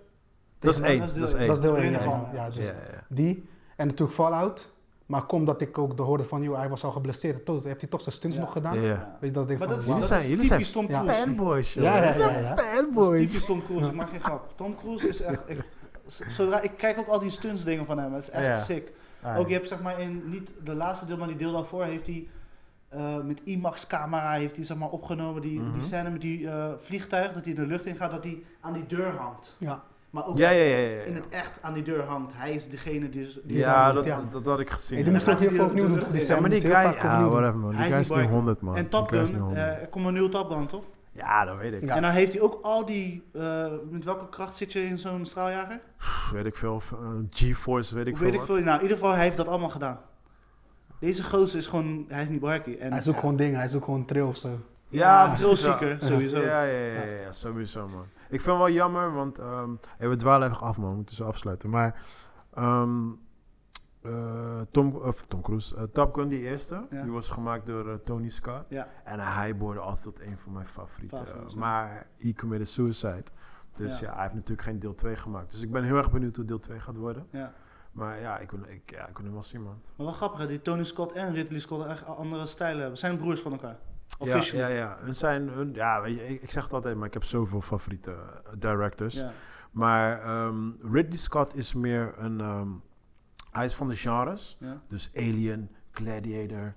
Dat is
dat
1.
is deel
Dat is
één.
Dat is
1.
deel
Eén.
1.
Eén.
Ja, ja, dus
Ja, ja, ja.
die. En natuurlijk Fallout. Maar kom dat ik ook de hoorde van, joh, hij was al geblesseerd. Toen heeft hij toch zijn stunts
Ja.
nog gedaan.
Ja, ja.
Weet je, dat ding
Maar
van,
dat is,
Jullie
wauw.
dat
zijn-
is
jullie
typisch Tom
ja,
Cruise.
Fanboys, joh.
Ja, ja,
Dat zijn
ja, ja.
Dat is
Fanboys.
typisch Tom Cruise, ik maak geen grap. Tom Cruise is echt... Ik, z- zodra, ik kijk ook al die stunts dingen van hem, het is echt
Ja.
sick. Ook je hebt zeg maar in, niet de laatste deel, maar die deel daarvoor heeft hij eh, met IMAX camera heeft hij zeg maar opgenomen die,
Mhm.
die scène met die eh, vliegtuig, dat hij de lucht in gaat, dat hij aan die deur hangt.
Ja.
Maar ook
Ja, ja, ja, ja.
in het echt aan die deur hangt. Hij is degene die... die
Ja, dat,
Ja.
dat, dat had ik gezien.
Hey, die moest
ja.
ook heel veel opnieuw doen, toch? Die
Ja,
Ja,
scène
maar die
moest
guy,
heel vaak
ja,
opnieuw doen.
whatever man. Die
Hij is
guy
die
is nu
boy.
100 man.
en
Die
Top
guy is
Gun,
nu 100.
eh, er komt een nieuwe Top Gun, toch?
ja, dat weet ik.
Ja.
En dan heeft hij ook al die... eh, met welke kracht zit je in zo'n straaljager?
Pff, weet ik veel. Of, eh, G-Force, weet ik
Hoe
veel.
weet ik
wat.
veel. Nou, in ieder geval, hij heeft dat allemaal gedaan. Deze gozer is gewoon... Hij is niet barkie. En
Hij zoekt gewoon dingen, hij zoekt gewoon trail of zo.
Ja,
een
precies,
thrillzieker,
ja.
sowieso.
Ja, ja, ja, ja, ja, sowieso man. Ik vind het wel jammer, want ehm, hey, we dwalen even af man, we moeten ze afsluiten. Maar ehm, eh, Tom, of Tom Cruise, eh, Top Gun, die eerste,
Ja.
die was gemaakt door eh, Tony Scott.
Ja.
En hij behoorde altijd tot een van mijn favorieten.
Favorieten, ja.
Maar he committed suicide. Dus ja.
Ja.
hij heeft natuurlijk geen deel 2 gemaakt. Dus ik ben heel erg benieuwd hoe deel 2 gaat worden.
Ja.
Maar ja, ik wil, ik, ja, ik wil hem wel zien man.
Maar wel grappig, hè, die Tony Scott en Ridley Scott echt andere stijlen hebben. Zijn broers van elkaar.
Ja,
Officially.
ja, ja. Hun zijn, hun, ja weet je, ik, ik zeg het altijd, maar ik heb zoveel favoriete eh, directors.
Ja.
Maar ehm, Ridley Scott is meer een. ehm, hij is van de genres.
Ja.
Dus Alien, Gladiator,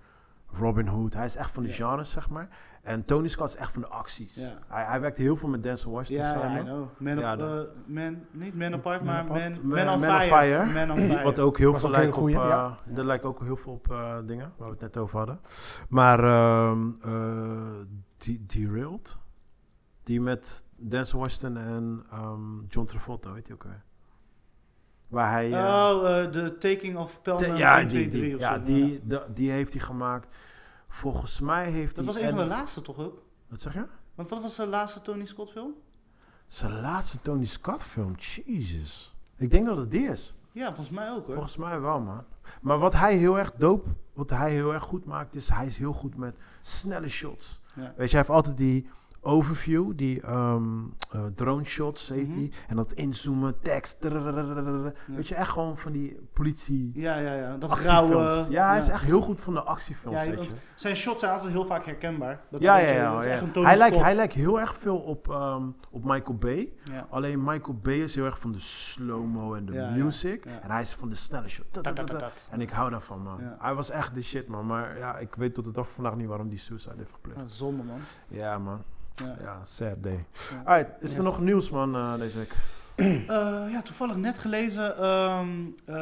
Robin Hood. Hij is echt van de
Ja.
genres, zeg maar. En Tony Scott is echt van de acties.
Ja.
Hij, hij werkt heel veel met Denzel Washington
Ja, ja, I
samen.
know. Man,
Ja,
op,
dat-
eh, man, niet Man Apart,
Man
maar
Apart.
Man,
Man-
man, on,
Man on
fire.
Fire.
Man
<clears throat>
on Fire.
Wat ook heel
Was
veel
ook een
lijkt op,
hele goeie,
eh, er lijkt ook heel veel op eh, dingen waar we het net over hadden. Maar ehm eh, De- Derailed, die met Denzel Washington en ehm, John Travolta, weet je ook weer. Waar hij... eh,
Oh, eh, de Taking of Pelman
Te- ja,
1, 2,
die,
3
die,
of
ja,
zo.
die, da- die heeft hij gemaakt. Volgens mij heeft
Dat
hij
was een van de
en-
laatste toch ook?
Wat zeg je?
Want wat was de laatste Tony Scott film?
Zijn laatste Tony Scott film. Jesus. Ik denk dat het die is.
Ja, volgens mij ook hoor.
Volgens mij wel, man. Maar wat hij heel erg dope, wat hij heel erg goed maakt, is hij is heel goed met snelle shots.
Ja.
Weet je, hij heeft altijd die overview, die ehm, eh, drone shots, heet
Mhm.
die. En dat inzoomen, tekst. trrrrrrrrrr.
Ja.
Weet je, echt gewoon van die politie.
Ja, ja, ja. Dat
actiefilms.
rauwe...
ja, hij is echt heel goed van de actiefilms.
Ja,
weet
want
je.
Zijn shots zijn altijd heel vaak herkenbaar. Dat
Ja,
weet
ja,
je,
ja. oh,
dat is
ja.
echt een Tony
Hij lijkt
Scott.
hij lijkt heel erg veel op, ehm, op Michael Bay.
Ja.
Alleen Michael Bay is heel erg van de slow-mo en de
Ja, ja,
music.
ja.
En hij is van de snelle shot. Da, da,
Dat,
da,
dat, dat,
da.
dat.
En ik hou daarvan, man.
Ja.
Hij was echt de shit, man. Maar ja, ik weet tot de dag van vandaag niet waarom die suicide heeft gepleegd.
Ja, Zonde man.
Ja, man.
Ja.
Ja, sad day.
Ja.
Alright, is er
Yes.
nog nieuws, man, eh, deze week?
Eh, ja, toevallig net gelezen. ehm, eh,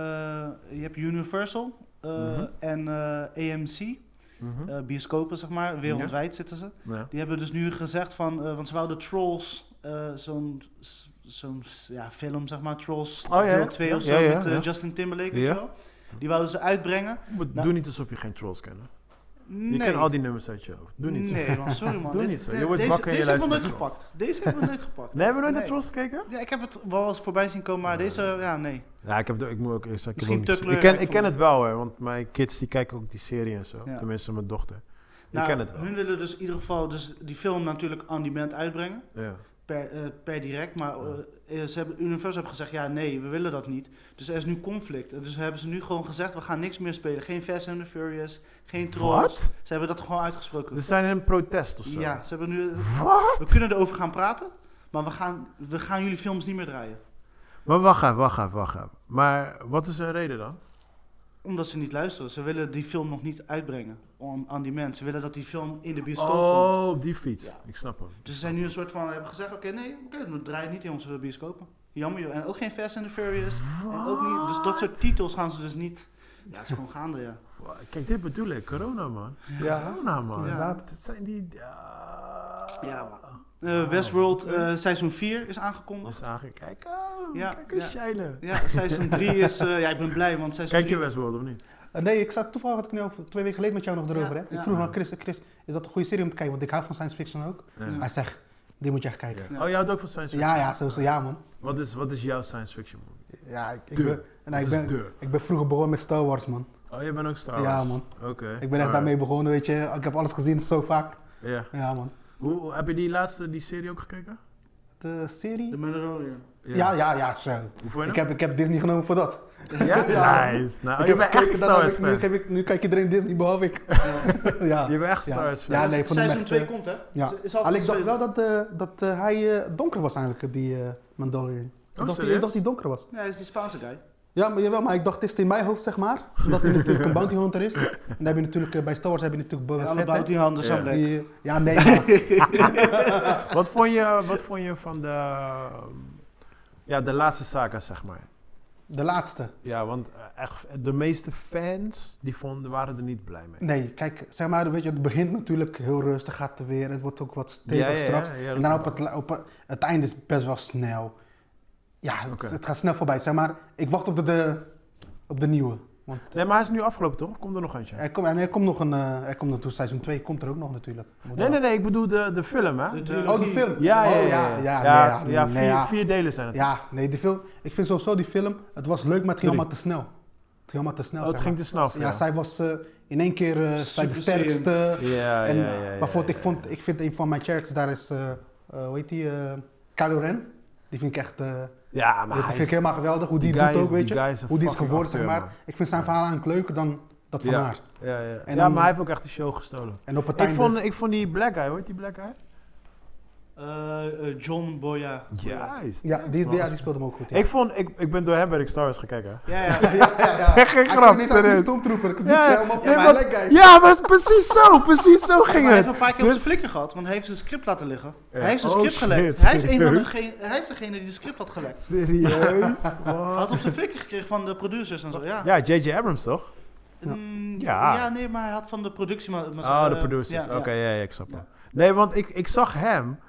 je hebt Universal eh,
Mhm.
en eh, AMC,
Mhm.
eh, bioscopen zeg maar, wereldwijd zitten ze.
Ja.
Die hebben dus nu gezegd van, eh, want ze wouden Trolls, eh, zo'n s- zo'n s- ja, film zeg maar, Trolls
Oh, ja, ja.
deel 2 of
Ja,
zo,
ja, ja,
met eh,
ja.
Justin Timberlake
Ja.
weet je wel. Die wouden ze uitbrengen.
Maar
Nou.
Doe niet alsof je geen trolls kent. hè. Je
Nee.
kent al die nummers uit je hoofd. Doe niet zo.
Nee, man, sorry
<laughs>
man.
Doe
Dit-
niet zo. Je
dit-
wordt
deze,
wakker en je
Deze hebben we nooit
luistert naar
gepakt. Deze hebben we nooit
<laughs>
gepakt.
Nee, hebben we nooit naar
Nee.
Trolls gekeken?
Ja, ik heb het wel eens voorbij zien komen, maar deze, ja, nee.
Ja, ik, heb, de- ik moet ook eerst zeggen, ik,
Misschien
heb ook niet
Tuckler,
gezien. ik, ken,
ik
ik ken
vond-
het wel hoor, want mijn kids die kijken ook die serie en zo.
Ja.
Tenminste, mijn dochter. Die
Nou,
kent het wel.
Hun willen dus in ieder geval dus die film natuurlijk on demand uitbrengen.
Ja.
Per, eh, per direct, maar eh, eh, ze hebben, Universal heeft gezegd, ja nee, we willen dat niet. Dus er is nu conflict. En dus hebben ze nu gewoon gezegd, we gaan niks meer spelen. Geen Fast and the Furious, geen Trolls.
Wat?
Ze hebben dat gewoon uitgesproken.
Dus zijn in een protest of zo?
ja, ze hebben nu... eh, We kunnen erover gaan praten, maar we gaan, we gaan jullie films niet meer draaien.
Maar wacht even, wacht even, wacht even. Maar wat is hun reden dan?
Omdat ze niet luisteren. Ze willen die film nog niet uitbrengen on, on demand. Ze willen dat die film in de bioscoop komt.
Oh, op die fiets.
Ja.
Ik snap hem.
Dus ze zijn nu een soort van, hebben gezegd, oké, nee, oké, we draaien niet in onze bioscopen. Jammer joh. En ook geen Fast and the Furious. En ook niet, dus dat soort titels gaan ze dus niet. Ja, het is gewoon gaande, ja. Eh,
Wa- Kijk, dit bedoel ik. Corona, man.
Ja.
Corona, man.
Inderdaad.
Dit zijn die... Ja,
Ja, man. Eh, Westworld eh, seizoen 4 is aangekondigd.
Dus eigenlijk, kijk, oh,
Ja,
kijk eens
ja.
shinen.
Ja, seizoen 3
<laughs>
is, eh, ja, ik ben blij, want seizoen
Kijk je
3...
Westworld of niet?
Eh, nee, ik zat toevallig had ik nu over- twee weken geleden met jou nog erover.
Ja,
hè?
ja.
Ik vroeg aan Chris, Chris, is dat een goede serie om te kijken? Want ik hou van science fiction ook.
Ja.
Hij zegt, die moet je echt kijken.
Ja. Oh, jij houdt ook van science fiction?
Ja, ja, sowieso, ja man.
Wat is, wat is jouw science fiction movie?
Ja, ik, ik
Duur.
ben, en ik,
Wat is
ben,
duur?
ik ben vroeger begonnen met Star Wars man.
Oh, jij bent ook Star Wars?
Ja, man.
Oké.
Ik ben echt daarmee begonnen, weet je. Ik heb alles gezien zo vaak.
Ja.
Ja man.
Hoe, hoe- heb je die laatste, die serie ook gekeken?
De serie?
De Mandalorian.
Ja, ja, ja, zo.
Hoe vond je
Ik
hem?
heb, ik heb Disney genomen voor dat.
Ja?
<laughs> Ja.
Nice. Nou,
ik
Oh, je
heb
bent
gekeken,
echt
dat
Star
heb
Wars
ik- nu,
fan.
heb ik, nu kijkt iedereen Disney, behalve
<laughs>
ik. <laughs> ja.
Je bent echt
Ja.
Star Wars fan.
Ja, nee, ik vond hem
seizoen
echt,
2
eh,
komt, hè?
Ja.
Ze- is al
Alleen ik dacht
gespeeld.
wel dat, eh, dat eh, hij eh, donker was eigenlijk, die eh Mandalorian. ik, dacht, die-
Oh, serieus?
ik dacht die donker was.
Ja, hij is die Spaanse guy.
Ja, maar, jawel, maar ik dacht, het is in mijn hoofd,
<laughs>
zeg maar. Omdat hij natuurlijk een bounty hunter is. En dan heb je natuurlijk, eh, bij Star Wars heb je natuurlijk Boba
En alle
Fett, hè,
bounty handen
Ja.
zijn black.
die, Ja, nee,
<laughs>
maar,
Wat vond je, wat vond je van de, ja, de laatste saga, zeg maar?
de laatste.
Ja, want eh, echt, de meeste fans die vonden, waren er niet blij mee.
Nee, kijk, zeg maar, weet je, het begint natuurlijk heel rustig, gaat er weer. Het wordt ook wat
Ja,
steviger
ja, ja,
straks.
ja, dat
en dan
klopt.
op het, la- op het, het einde is best wel snel. Ja, het,
Oké.
het gaat snel voorbij. Zeg maar, ik wacht op de, de, op de nieuwe. Want
Nee, maar hij is nu afgelopen, toch? Komt er nog eentje?
er, komt en er komt nog een, eh, er komt naartoe, seizoen 2 komt er ook nog natuurlijk. Moet
Nee,
wel.
nee, nee, ik bedoel de, de film, hè?
De
Die-
trilogie.
Oh, die film?
Ja, ja,
Oh,
ja.
ja, ja,
ja,
nee, ja,
ja,
nee,
vier,
ja.
vier delen zijn het.
Ja, nee, die film, ik vind sowieso die film, het was leuk, maar het ging
Drie.
allemaal te snel. Het ging allemaal te snel,
Oh, het
zeg
ging
maar.
te snel. voor
Ja,
jou.
zij was eh, in één keer eh, zij de
Super saiyan.
sterkste.
ja, ja,
En,
ja, ja, ja,
bijvoorbeeld,
ja,
ik, vond, ik vind een van mijn characters daar is, eh, eh, hoe heet die, eh, Kylo Ren. Die vind ik echt, eh,
Ja,
dat
maar hij
vind ik
is-
helemaal geweldig, hoe die,
guy
doet
is-
ook, weet je.
guy is een
Hoe die is
fucking
geworden, zeg
acteur,
maar.
man.
Ik vind zijn verhaal eigenlijk leuker dan dat van haar.
Ja, ja.
En
ja
dan-
maar hij heeft ook echt de show gestolen.
En op het
Ik
einde,
vond, ik vond die black guy, hoor, die black guy?
Eh, eh, John Boya.
Juist.
ja, die, die, ja, die speelde hem ook goed. Ja.
Ik vond, ik, ik ben door hem ben ik Star Wars gekeken. hè.
Ja, ja.
<laughs> ja,
<laughs>
ja, ja.
Echt geen
Hij
grap,
kon niet eh, aan die
serieus.
stormtrooper, ik
Ja,
doe ze helemaal
ja,
voor
maar-
mijn leg guy.
Ja, maar het is precies zo, precies zo
Ja,
ging
maar hij heeft
het.
een paar keer op
Dus-
zijn flikker gehad, want hij heeft zijn script laten liggen.
Ja.
Hij heeft zijn
Oh,
script
shit,
gelekt. Hij is, een van
serieus?
degene, hij is degene die de script had gelekt.
<laughs> Serieus?
Hij
Wat?
had op zijn flikker gekregen van de producers en zo, ja.
Ja, J.J. Abrams toch?
Mm,
Ja.
ja, nee, maar hij had van de productie... Maar, maar-
Oh, de
eh,
producers.
ja,
Oké,
ja.
ja, ja, ik snap wel. Nee, want ik, ik zag hem.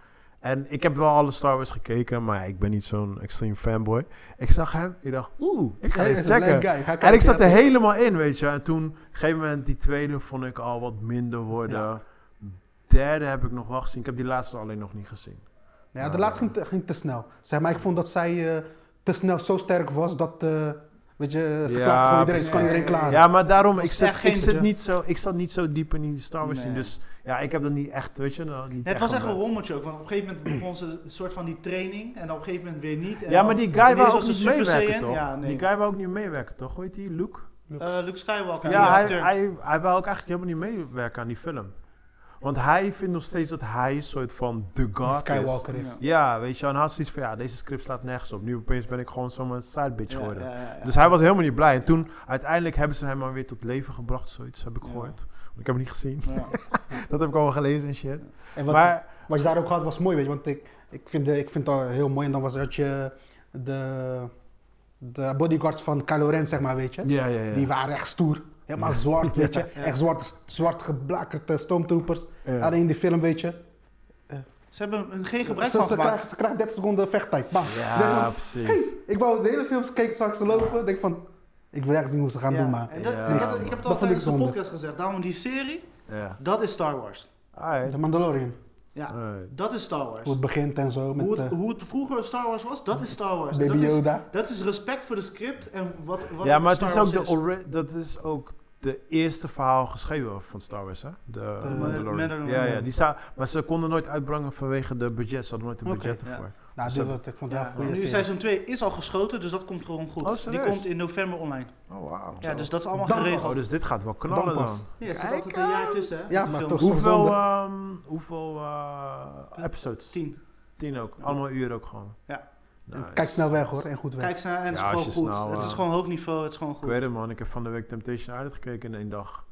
En ik heb wel alle Star Wars gekeken, maar ik ben niet zo'n extreme fanboy. Ik zag hem, ik dacht, oeh, ik ga
Hij is
eens
een
checken.
leg guy. Hij kan
En ik zat er
theater.
helemaal in, weet je. En toen, op een gegeven moment, die tweede vond ik al wat minder worden.
Ja.
Derde heb ik nog wel gezien. Ik heb die laatste alleen nog niet gezien. Ah,
Ja, de laatste ging te, ging te snel. Zeg maar, ik vond dat zij eh, te snel zo sterk was dat, eh, weet je, ze
Ja,
klaagde voor iedereen,
precies.
ze kon iedereen
Ah,
klaar.
Ja, maar daarom, ik,
echt
zat,
geen
ik, zit
ja.
niet zo, ik zat niet zo diep in die Star Wars scene.
Nee.
Dus ja, ik heb dat niet echt, weet je. nou, niet
Ja, het was echt een
ontdekt.
rommeltje ook, want op een gegeven moment begon ze een soort van die training en dan op een gegeven moment weer niet. En
Ja,
dan-
maar die
en
guy
ineens
wou ook
was ze
niet
Super
meewerken,
Saiyan.
toch?
Ja, nee.
Die guy wou ook niet meewerken, toch? Hoe heet die? Luke?
Eh, Luke Skywalker,
Ja, hij,
acteur.
hij, hij wou ook eigenlijk helemaal niet meewerken aan die film. Want hij vindt nog steeds dat hij een soort van de god
Skywalker
Ja.
is.
is. Ja, weet je, en hij had zoiets van, ja, deze script slaat nergens op. Nu opeens ben ik gewoon zomaar een side bitch
Ja,
geworden.
ja, ja, ja.
Dus hij was helemaal niet blij. En toen, uiteindelijk hebben ze hem maar weer tot leven gebracht, zoiets heb ik
Ja.
gehoord. Want Ik heb hem niet gezien. <laughs>
Ja.
Dat heb ik al gelezen en shit.
En wat,
maar,
wat je daar ook had was mooi, weet je, want ik, ik vind eh, ik vind dat heel mooi. En dan was dat je de, de bodyguards van Kylo Ren, zeg maar, weet je.
ja, ja, ja.
Die waren echt stoer. Helemaal zwart,
<laughs>
weet je.
Ja.
Echt zwart, zwart geblakerde stormtroopers.
Ja.
Alleen in die film, weet je.
Ze hebben een geen
Ze,
gebruik
ze,
van gemaakt.
krijgen, ze krijgen 30 seconden vechttijd. Bam.
Ja,
Denk van,
precies.
Hey, ik wou de hele film kijken, zag ze lopen. Denk van, Ik wil echt zien hoe ze gaan
Ja,
doen, maar
en dat-
Ja,
ik, heb,
man.
het- ik heb het
Dat
al
vond ik
tijdens de
zonde.
podcast gezegd. Daarom die serie,
Ja.
dat is Star Wars.
de
Alright.
Mandalorian,
Ja,
Alright.
dat is Star Wars.
hoe het begint en zo, met
Hoe het,
eh,
hoe het vroeger Star Wars was, dat is Star Wars. En
Baby
dat, is,
Yoda.
dat is respect voor de script en wat, wat
Ja, maar het
Star
is ook
Wars
de, ori- dat is ook de eerste verhaal geschreven van Star Wars, hè? De Mandalorian.
Mandalorian.
Ja, ja, die zou, maar ze konden nooit uitbrengen vanwege de budget. Ze hadden nooit een
Oké,
budget
ja.
ervoor.
Nou,
Dus
dit was, ik vond het wel
Ja,
een
nu
goede serie.
seizoen 2 is al geschoten, dus dat komt gewoon goed.
Oh,
die
serieus?
komt in november online.
Oh, wauw.
Ja, dus dat is allemaal
Dan
geregeld.
Oh, dus dit gaat wel knallen
Dan
dan.
pas.
Ja, er zit altijd een jaar tussen, hè?
Ja,
met de
maar
film.
toch. is
Hoeveel,
zonde.
ehm, hoeveel eh, episodes?
Tien.
Tien ook. Allemaal uren ook gewoon. Nou,
Ja.
Nice.
Kijk snel weg hoor, en goed weg.
Kijk ze naar en het
Ja,
is
als
gewoon
je
goed.
snel,
het is
eh,
gewoon hoog niveau, het is gewoon
Ik
goed.
weet het man, ik heb van de week Temptation Island gekeken in één dag.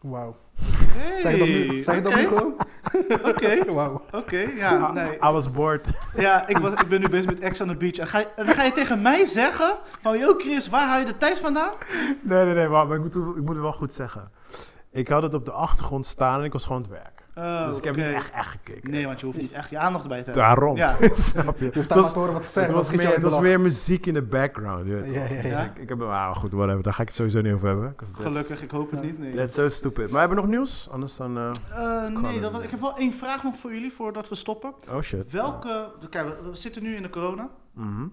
Wauw.
Hey,
Zeg je dat nu, zeg je dat nu
Oké,
gewoon?
oké,
<laughs> Wauw.
oké, ja, nee.
Ah, I was bored. <laughs>
Ja, ik, was, ik ben nu bezig met Ex on the Beach. En, ga je, en dan ga je tegen mij zeggen van, yo Chris, waar haal je de tijd vandaan?
Nee, nee, nee, maar, maar ik, moet, ik moet het wel goed zeggen. Ik had het op de achtergrond staan en ik was gewoon aan het werk.
Oh,
dus ik heb
oké.
niet echt, echt gekeken.
Nee, want je hoeft niet echt je aandacht erbij te hebben.
Daarom.
Ja.
<laughs> Snap je?
Je
Het
hoeft daar maar
was,
te horen wat ze
het
zeggen.
was, meer,
anders schiet
het
je
was
uit de
meer muziek in de background. je weet
Ja,
toch?
ja,
Dus
ja.
ik, ik heb, ah, goed, whatever, daar ga ik het sowieso niet over hebben. 'cause that's-
Gelukkig, ik hoop het niet, nee.
That's so stupid. Maar hebben we nog nieuws? Anders dan... eh,
Eh, nee,
Colin.
dat was- ik heb wel één vraag nog voor jullie voordat we stoppen.
oh shit.
Welke, kijk, we- we zitten nu in de corona.
Ja. Mhm.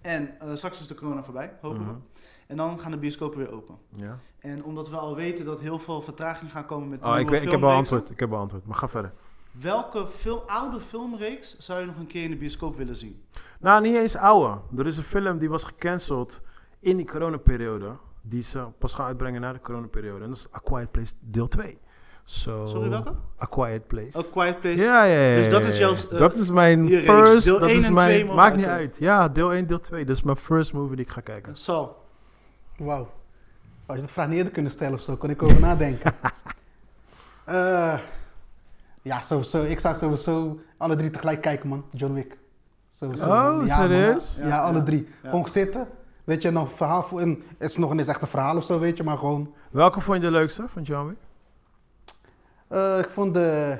En eh, straks is de corona voorbij, hopelijk.
Mhm.
En dan gaan de bioscopen weer open.
Ja. Ah,
En omdat we al weten dat heel veel vertraging gaan komen met
Oh, ik,
nieuwe
weet, ik heb al
filmreeksen,
antwoord. Ik heb al antwoord. Maar ga verder.
Welke veel oude filmreeks zou je nog een keer in de bioscoop willen zien?
Nou, niet eens ouwe. Er is een film die was gecanceld in die coronaperiode. Die ze pas gaan uitbrengen na de coronaperiode. En dat is A Quiet Place deel 2. So,
Sorry, welke?
A Quiet Place.
A Quiet Place.
Oh. Ja, ja, ja.
Dus dat
ja,
is
ja.
jouw, eh,
dat is mijn
je reeks.
first.
Deel
dat
één
is
en
mijn,
twee mogen
Maakt niet
uitkomen.
uit. Ja, deel 1, deel 2. Dat is mijn first movie die ik ga kijken.
Sal.
vlag. Wauw. Als je dat vraag niet eerder kunnen stellen of zo, kon ik over
<laughs>
nadenken. Eh, ja, sowieso. Ik zou sowieso alle drie tegelijk kijken, man. John Wick. Sowieso.
Oh,
man.
serieus?
Ja,
Ja,
alle
ja,
drie.
ja.
Gewoon zitten. Weet je, nog verhaal voor... En het is nog niet eens echt een verhaal of zo, weet je, maar gewoon...
Welke vond je de leukste van John Wick?
Eh, ik vond de...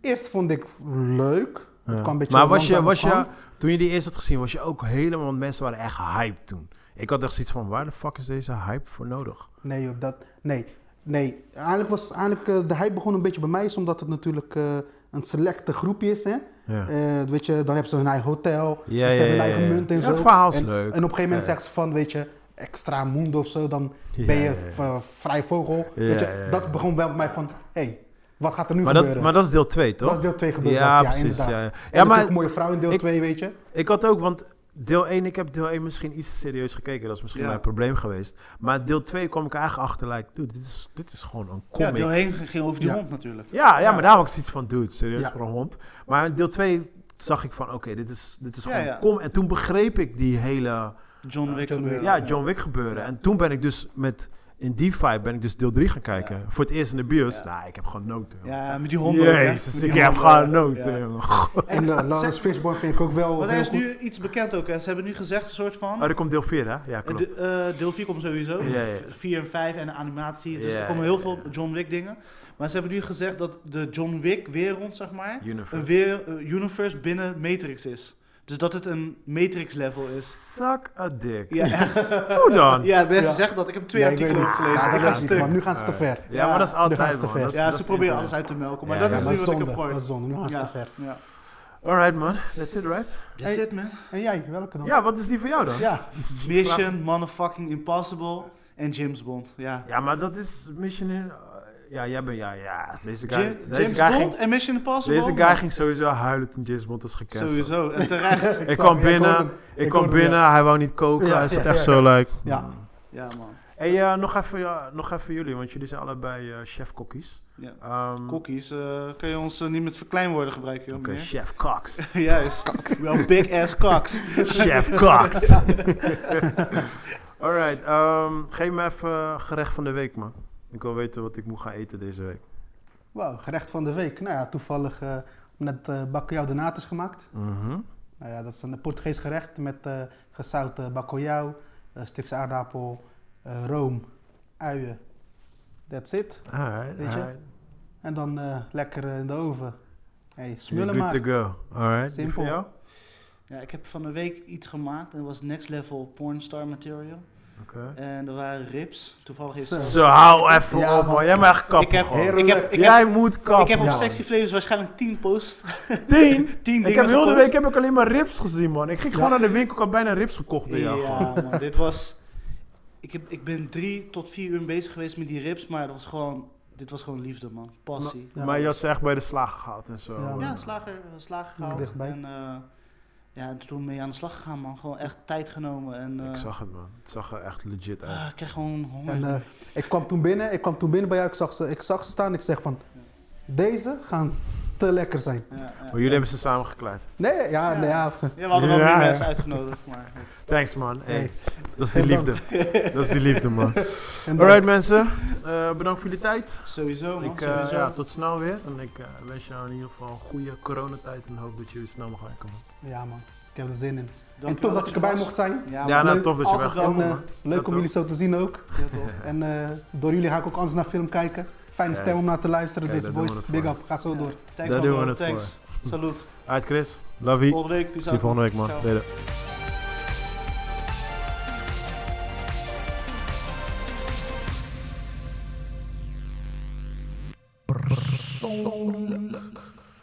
Eerst vond ik leuk. Het
Ja.
kwam een beetje
maar was je,
langzaam,
was
het
je,
kwam.
toen je die eerst had gezien, was je ook helemaal, want mensen waren echt hype toen. Ik had echt zoiets van, waar de fuck is deze hype voor nodig?
Nee joh, dat... Nee. Nee. Eigenlijk was... Eigenlijk, eh, de hype begon een beetje bij mij, is omdat het natuurlijk eh, een selecte groepje is, hè.
Ja.
Eh, weet je, dan hebben ze hun eigen hotel.
Ja,
en ze
ja,
hebben hun
ja,
eigen
ja.
munt en
Ja,
zo.
het verhaal is
en,
leuk.
En op een gegeven moment
Ja.
zeggen ze van, weet je, extra mundo of zo, dan
Ja,
ben je
ja, ja.
v- eh, vrij vogel.
Ja,
weet je,
ja, ja.
dat begon wel bij mij van, hé, hey, wat gaat er nu
Maar,
gebeuren?
dat, maar dat is deel 2, toch?
Dat is deel 2 gebeurd.
Ja,
ja,
precies.
inderdaad.
Ja, ja.
En
ja
natuurlijk
maar
een mooie vrouw in deel
ik-
2, weet je.
ik had ook, want deel 1, ik heb deel 1 misschien iets te serieus gekeken. Dat is misschien
Ja.
mijn probleem geweest. Maar deel 2 kwam ik eigenlijk achter, like, dude, dit is, dit is gewoon een
Ja,
comic.
deel 1 ging over die
Ja.
hond natuurlijk.
Ja, ja, maar daar had ik zoiets van, dude, serieus
Ja.
voor een hond. Maar in deel 2 zag ik van, oké, dit is, dit is
Ja,
gewoon
ja.
kom. En toen begreep ik die hele,
John Wick
John Wick.
gebeuren.
ja, John Wick gebeuren. En toen ben ik dus met, in die vibe ben ik dus deel 3 gaan kijken. Voor het eerst in de bios.
Ja.
Nou, ik heb gewoon noten. joh.
Ja, met die hond. ook, hè. Met
Jezus,
die
ik heb
hond
gewoon
ook.
noten.
Ja.
joh.
En eh,
<laughs>
Lawrence Fishburne vind ik ook wel
Want hij
heel
is
goed.
nu iets bekend ook. Hè. Ze hebben nu gezegd een soort van...
Oh, er komt deel 4, hè? Ja,
Eh,
klopt.
de- eh, deel 4 komt sowieso.
Ja, ja.
4 en 5 en animatie. Dus
Ja,
er komen heel
ja,
veel
ja.
John Wick dingen. Maar ze hebben nu gezegd dat de John Wick wereld, zeg maar,
Universe.
een weer, eh, universe binnen Matrix is. Dus dat het een Matrix level is.
Zak a dick. <laughs>
Ja, echt.
Hoe dan? Ja,
Ja, mensen
Ja.
zeggen dat. Ik heb twee
Nee, ik
artikelen
weet
over
niet.
gelezen.
Ja,
ik
dat
ga
is niet,
stuk.
maar nu gaan ze te ver.
Ja.
maar dat is
Nu gaan
altijd,
ze te
man.
ver.
Dat is-
Ja,
dat
ze
is
proberen alles
internet.
uit te melken. Maar
Ja,
dat
ja,
Ja,
is
maar
nu wat ik
zonde.
heb
Dat
gehoord.
is zonde. Nu gaan ze te
Ja,
ver.
ja.
Alright, man. That's it, right?
That's
Hey.
it, man.
En jij, welke dan?
Ja, wat is die voor jou dan?
<laughs>
Ja.
Mission, motherfucking impossible. En James Bond. Ja.
Ja, maar dat is Mission in... Ja, jij bent... Ja, ja. Deze guy,
Jim-
deze
James
guy
Bond
ging...
en Mission Impossible.
Deze guy ging sowieso huilen toen James Bond was gecanceld.
Sowieso. En
<laughs>
terecht.
Ik
zag-
kwam
hoorde
binnen,
hem.
ik
hoorde
kwam
hem,
binnen, hij wou niet koken.
Ja,
hij zat
ja,
echt
ja,
zo, like...
Ja.
mm.
Ja, man.
Hey, eh, nog, even, ja, nog even jullie, want jullie zijn allebei eh, chef-kokkies.
Ja.
Ehm,
Kokkies, eh, kan je ons eh, niet met verkleinwoorden gebruiken, joh,
Oké,
meneer? <laughs>
chef Cox.
Juist. Wel big
<laughs>
ass cocks.
Chef Cox. <laughs> Alright, ehm, geef me even gerecht van de week, man. Ik wil weten wat ik moet gaan eten deze week.
Wauw, gerecht van de week. Nou ja, toevallig eh net eh bacalhau de natas gemaakt.
Mhm.
Nou ja, dat is een Portugees gerecht met eh gezouten bacalhau, een stukjes aardappel, eh, room, uien. That's it.
Alright,
Weet je?
alright.
En dan eh, lekker eh, in de oven. Hey,
You're
smullen
good to
maar.
go. Alright, die
Simpel.
voor jou?
Ja, ik heb van de week iets gemaakt en dat was next level pornstar material.
Oké.
En er waren ribs. Toevallig heeft
Zo.
Zo, hou even
Ja,
op,
man.
man. Jij mag echt kappen,
Ik heb-
gewoon.
ik heb- ik heb-
Jij moet kappen,
Ik heb op
man.
Sexy Flavors waarschijnlijk 10 posts.
10.
<laughs> 10
Ik
dingen
heb heel de
gepost.
week heb ik alleen maar rips gezien, man. Ik ging gewoon naar de winkel, ik had bijna rips gekocht bij jou. gewoon.
Ja,
<laughs>
man, dit was. Ik, heb, ik ben drie tot vier uur bezig geweest met die rips, maar dat was gewoon, dit was gewoon liefde, man. Passie.
Ja.
Maar je had ze echt bij de slager gehad en zo.
Ja.
hoor.
Ja, een slager, een slager gehaald.
Dichtbij.
En eh, ja, en toen mee aan de slag gegaan, man. Gewoon echt tijd genomen. En, eh,
Ik zag het, man. Het zag er echt legit uit.
ah, ik kreeg gewoon honger.
En eh, ik kwam toen binnen, ik kwam toen binnen bij jou, ik zag ze, ik zag ze staan ik zeg van, deze gaan te lekker zijn.
ja, ja.
Maar jullie hebben ze samen gekleid.
Nee, ja, nee, ja.
Ja, we hadden wel
Ja,
meer
ja.
mensen uitgenodigd, maar...
Thanks, man. Hey,
Hey.
dat is die
Geen dank.
liefde. <laughs> Dat is die liefde,
<laughs>
man.
En dan-
Alright, mensen. Eh, bedankt voor jullie tijd.
Sowieso, man.
Ik, eh,
sowieso.
ja, tot snel weer. En ik eh, wens jou in ieder geval een goede coronatijd. En hoop dat jullie snel mag komen.
Ja man, ik heb er zin in.
Dankjewel
en tof dat
je
ik erbij
was.
mocht zijn.
Ja,
Ja,
man.
nou,
Leuk,
tof dat je
altijd
weg
wel,
kon,
eh,
man.
Leuk
Dat
om
ook.
jullie zo te zien ook.
Ja,
<laughs>
toch.
En eh, door jullie ga ik ook anders naar film kijken. Fijne
Kijk.
stem om naar te luisteren.
Kijk, daar
Deze
doen
boys,
we het
big
voor.
up. Ga zo
Ja.
door.
Thanks,
Daar
man,
doen we
bro.
het voor.
Thanks. Salut.
Uit, Chris. Love you.
Volgende week. peace
Zie je
out, man.
volgende week, man.
Ciao.
Later.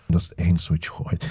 Dat is één switch gooit.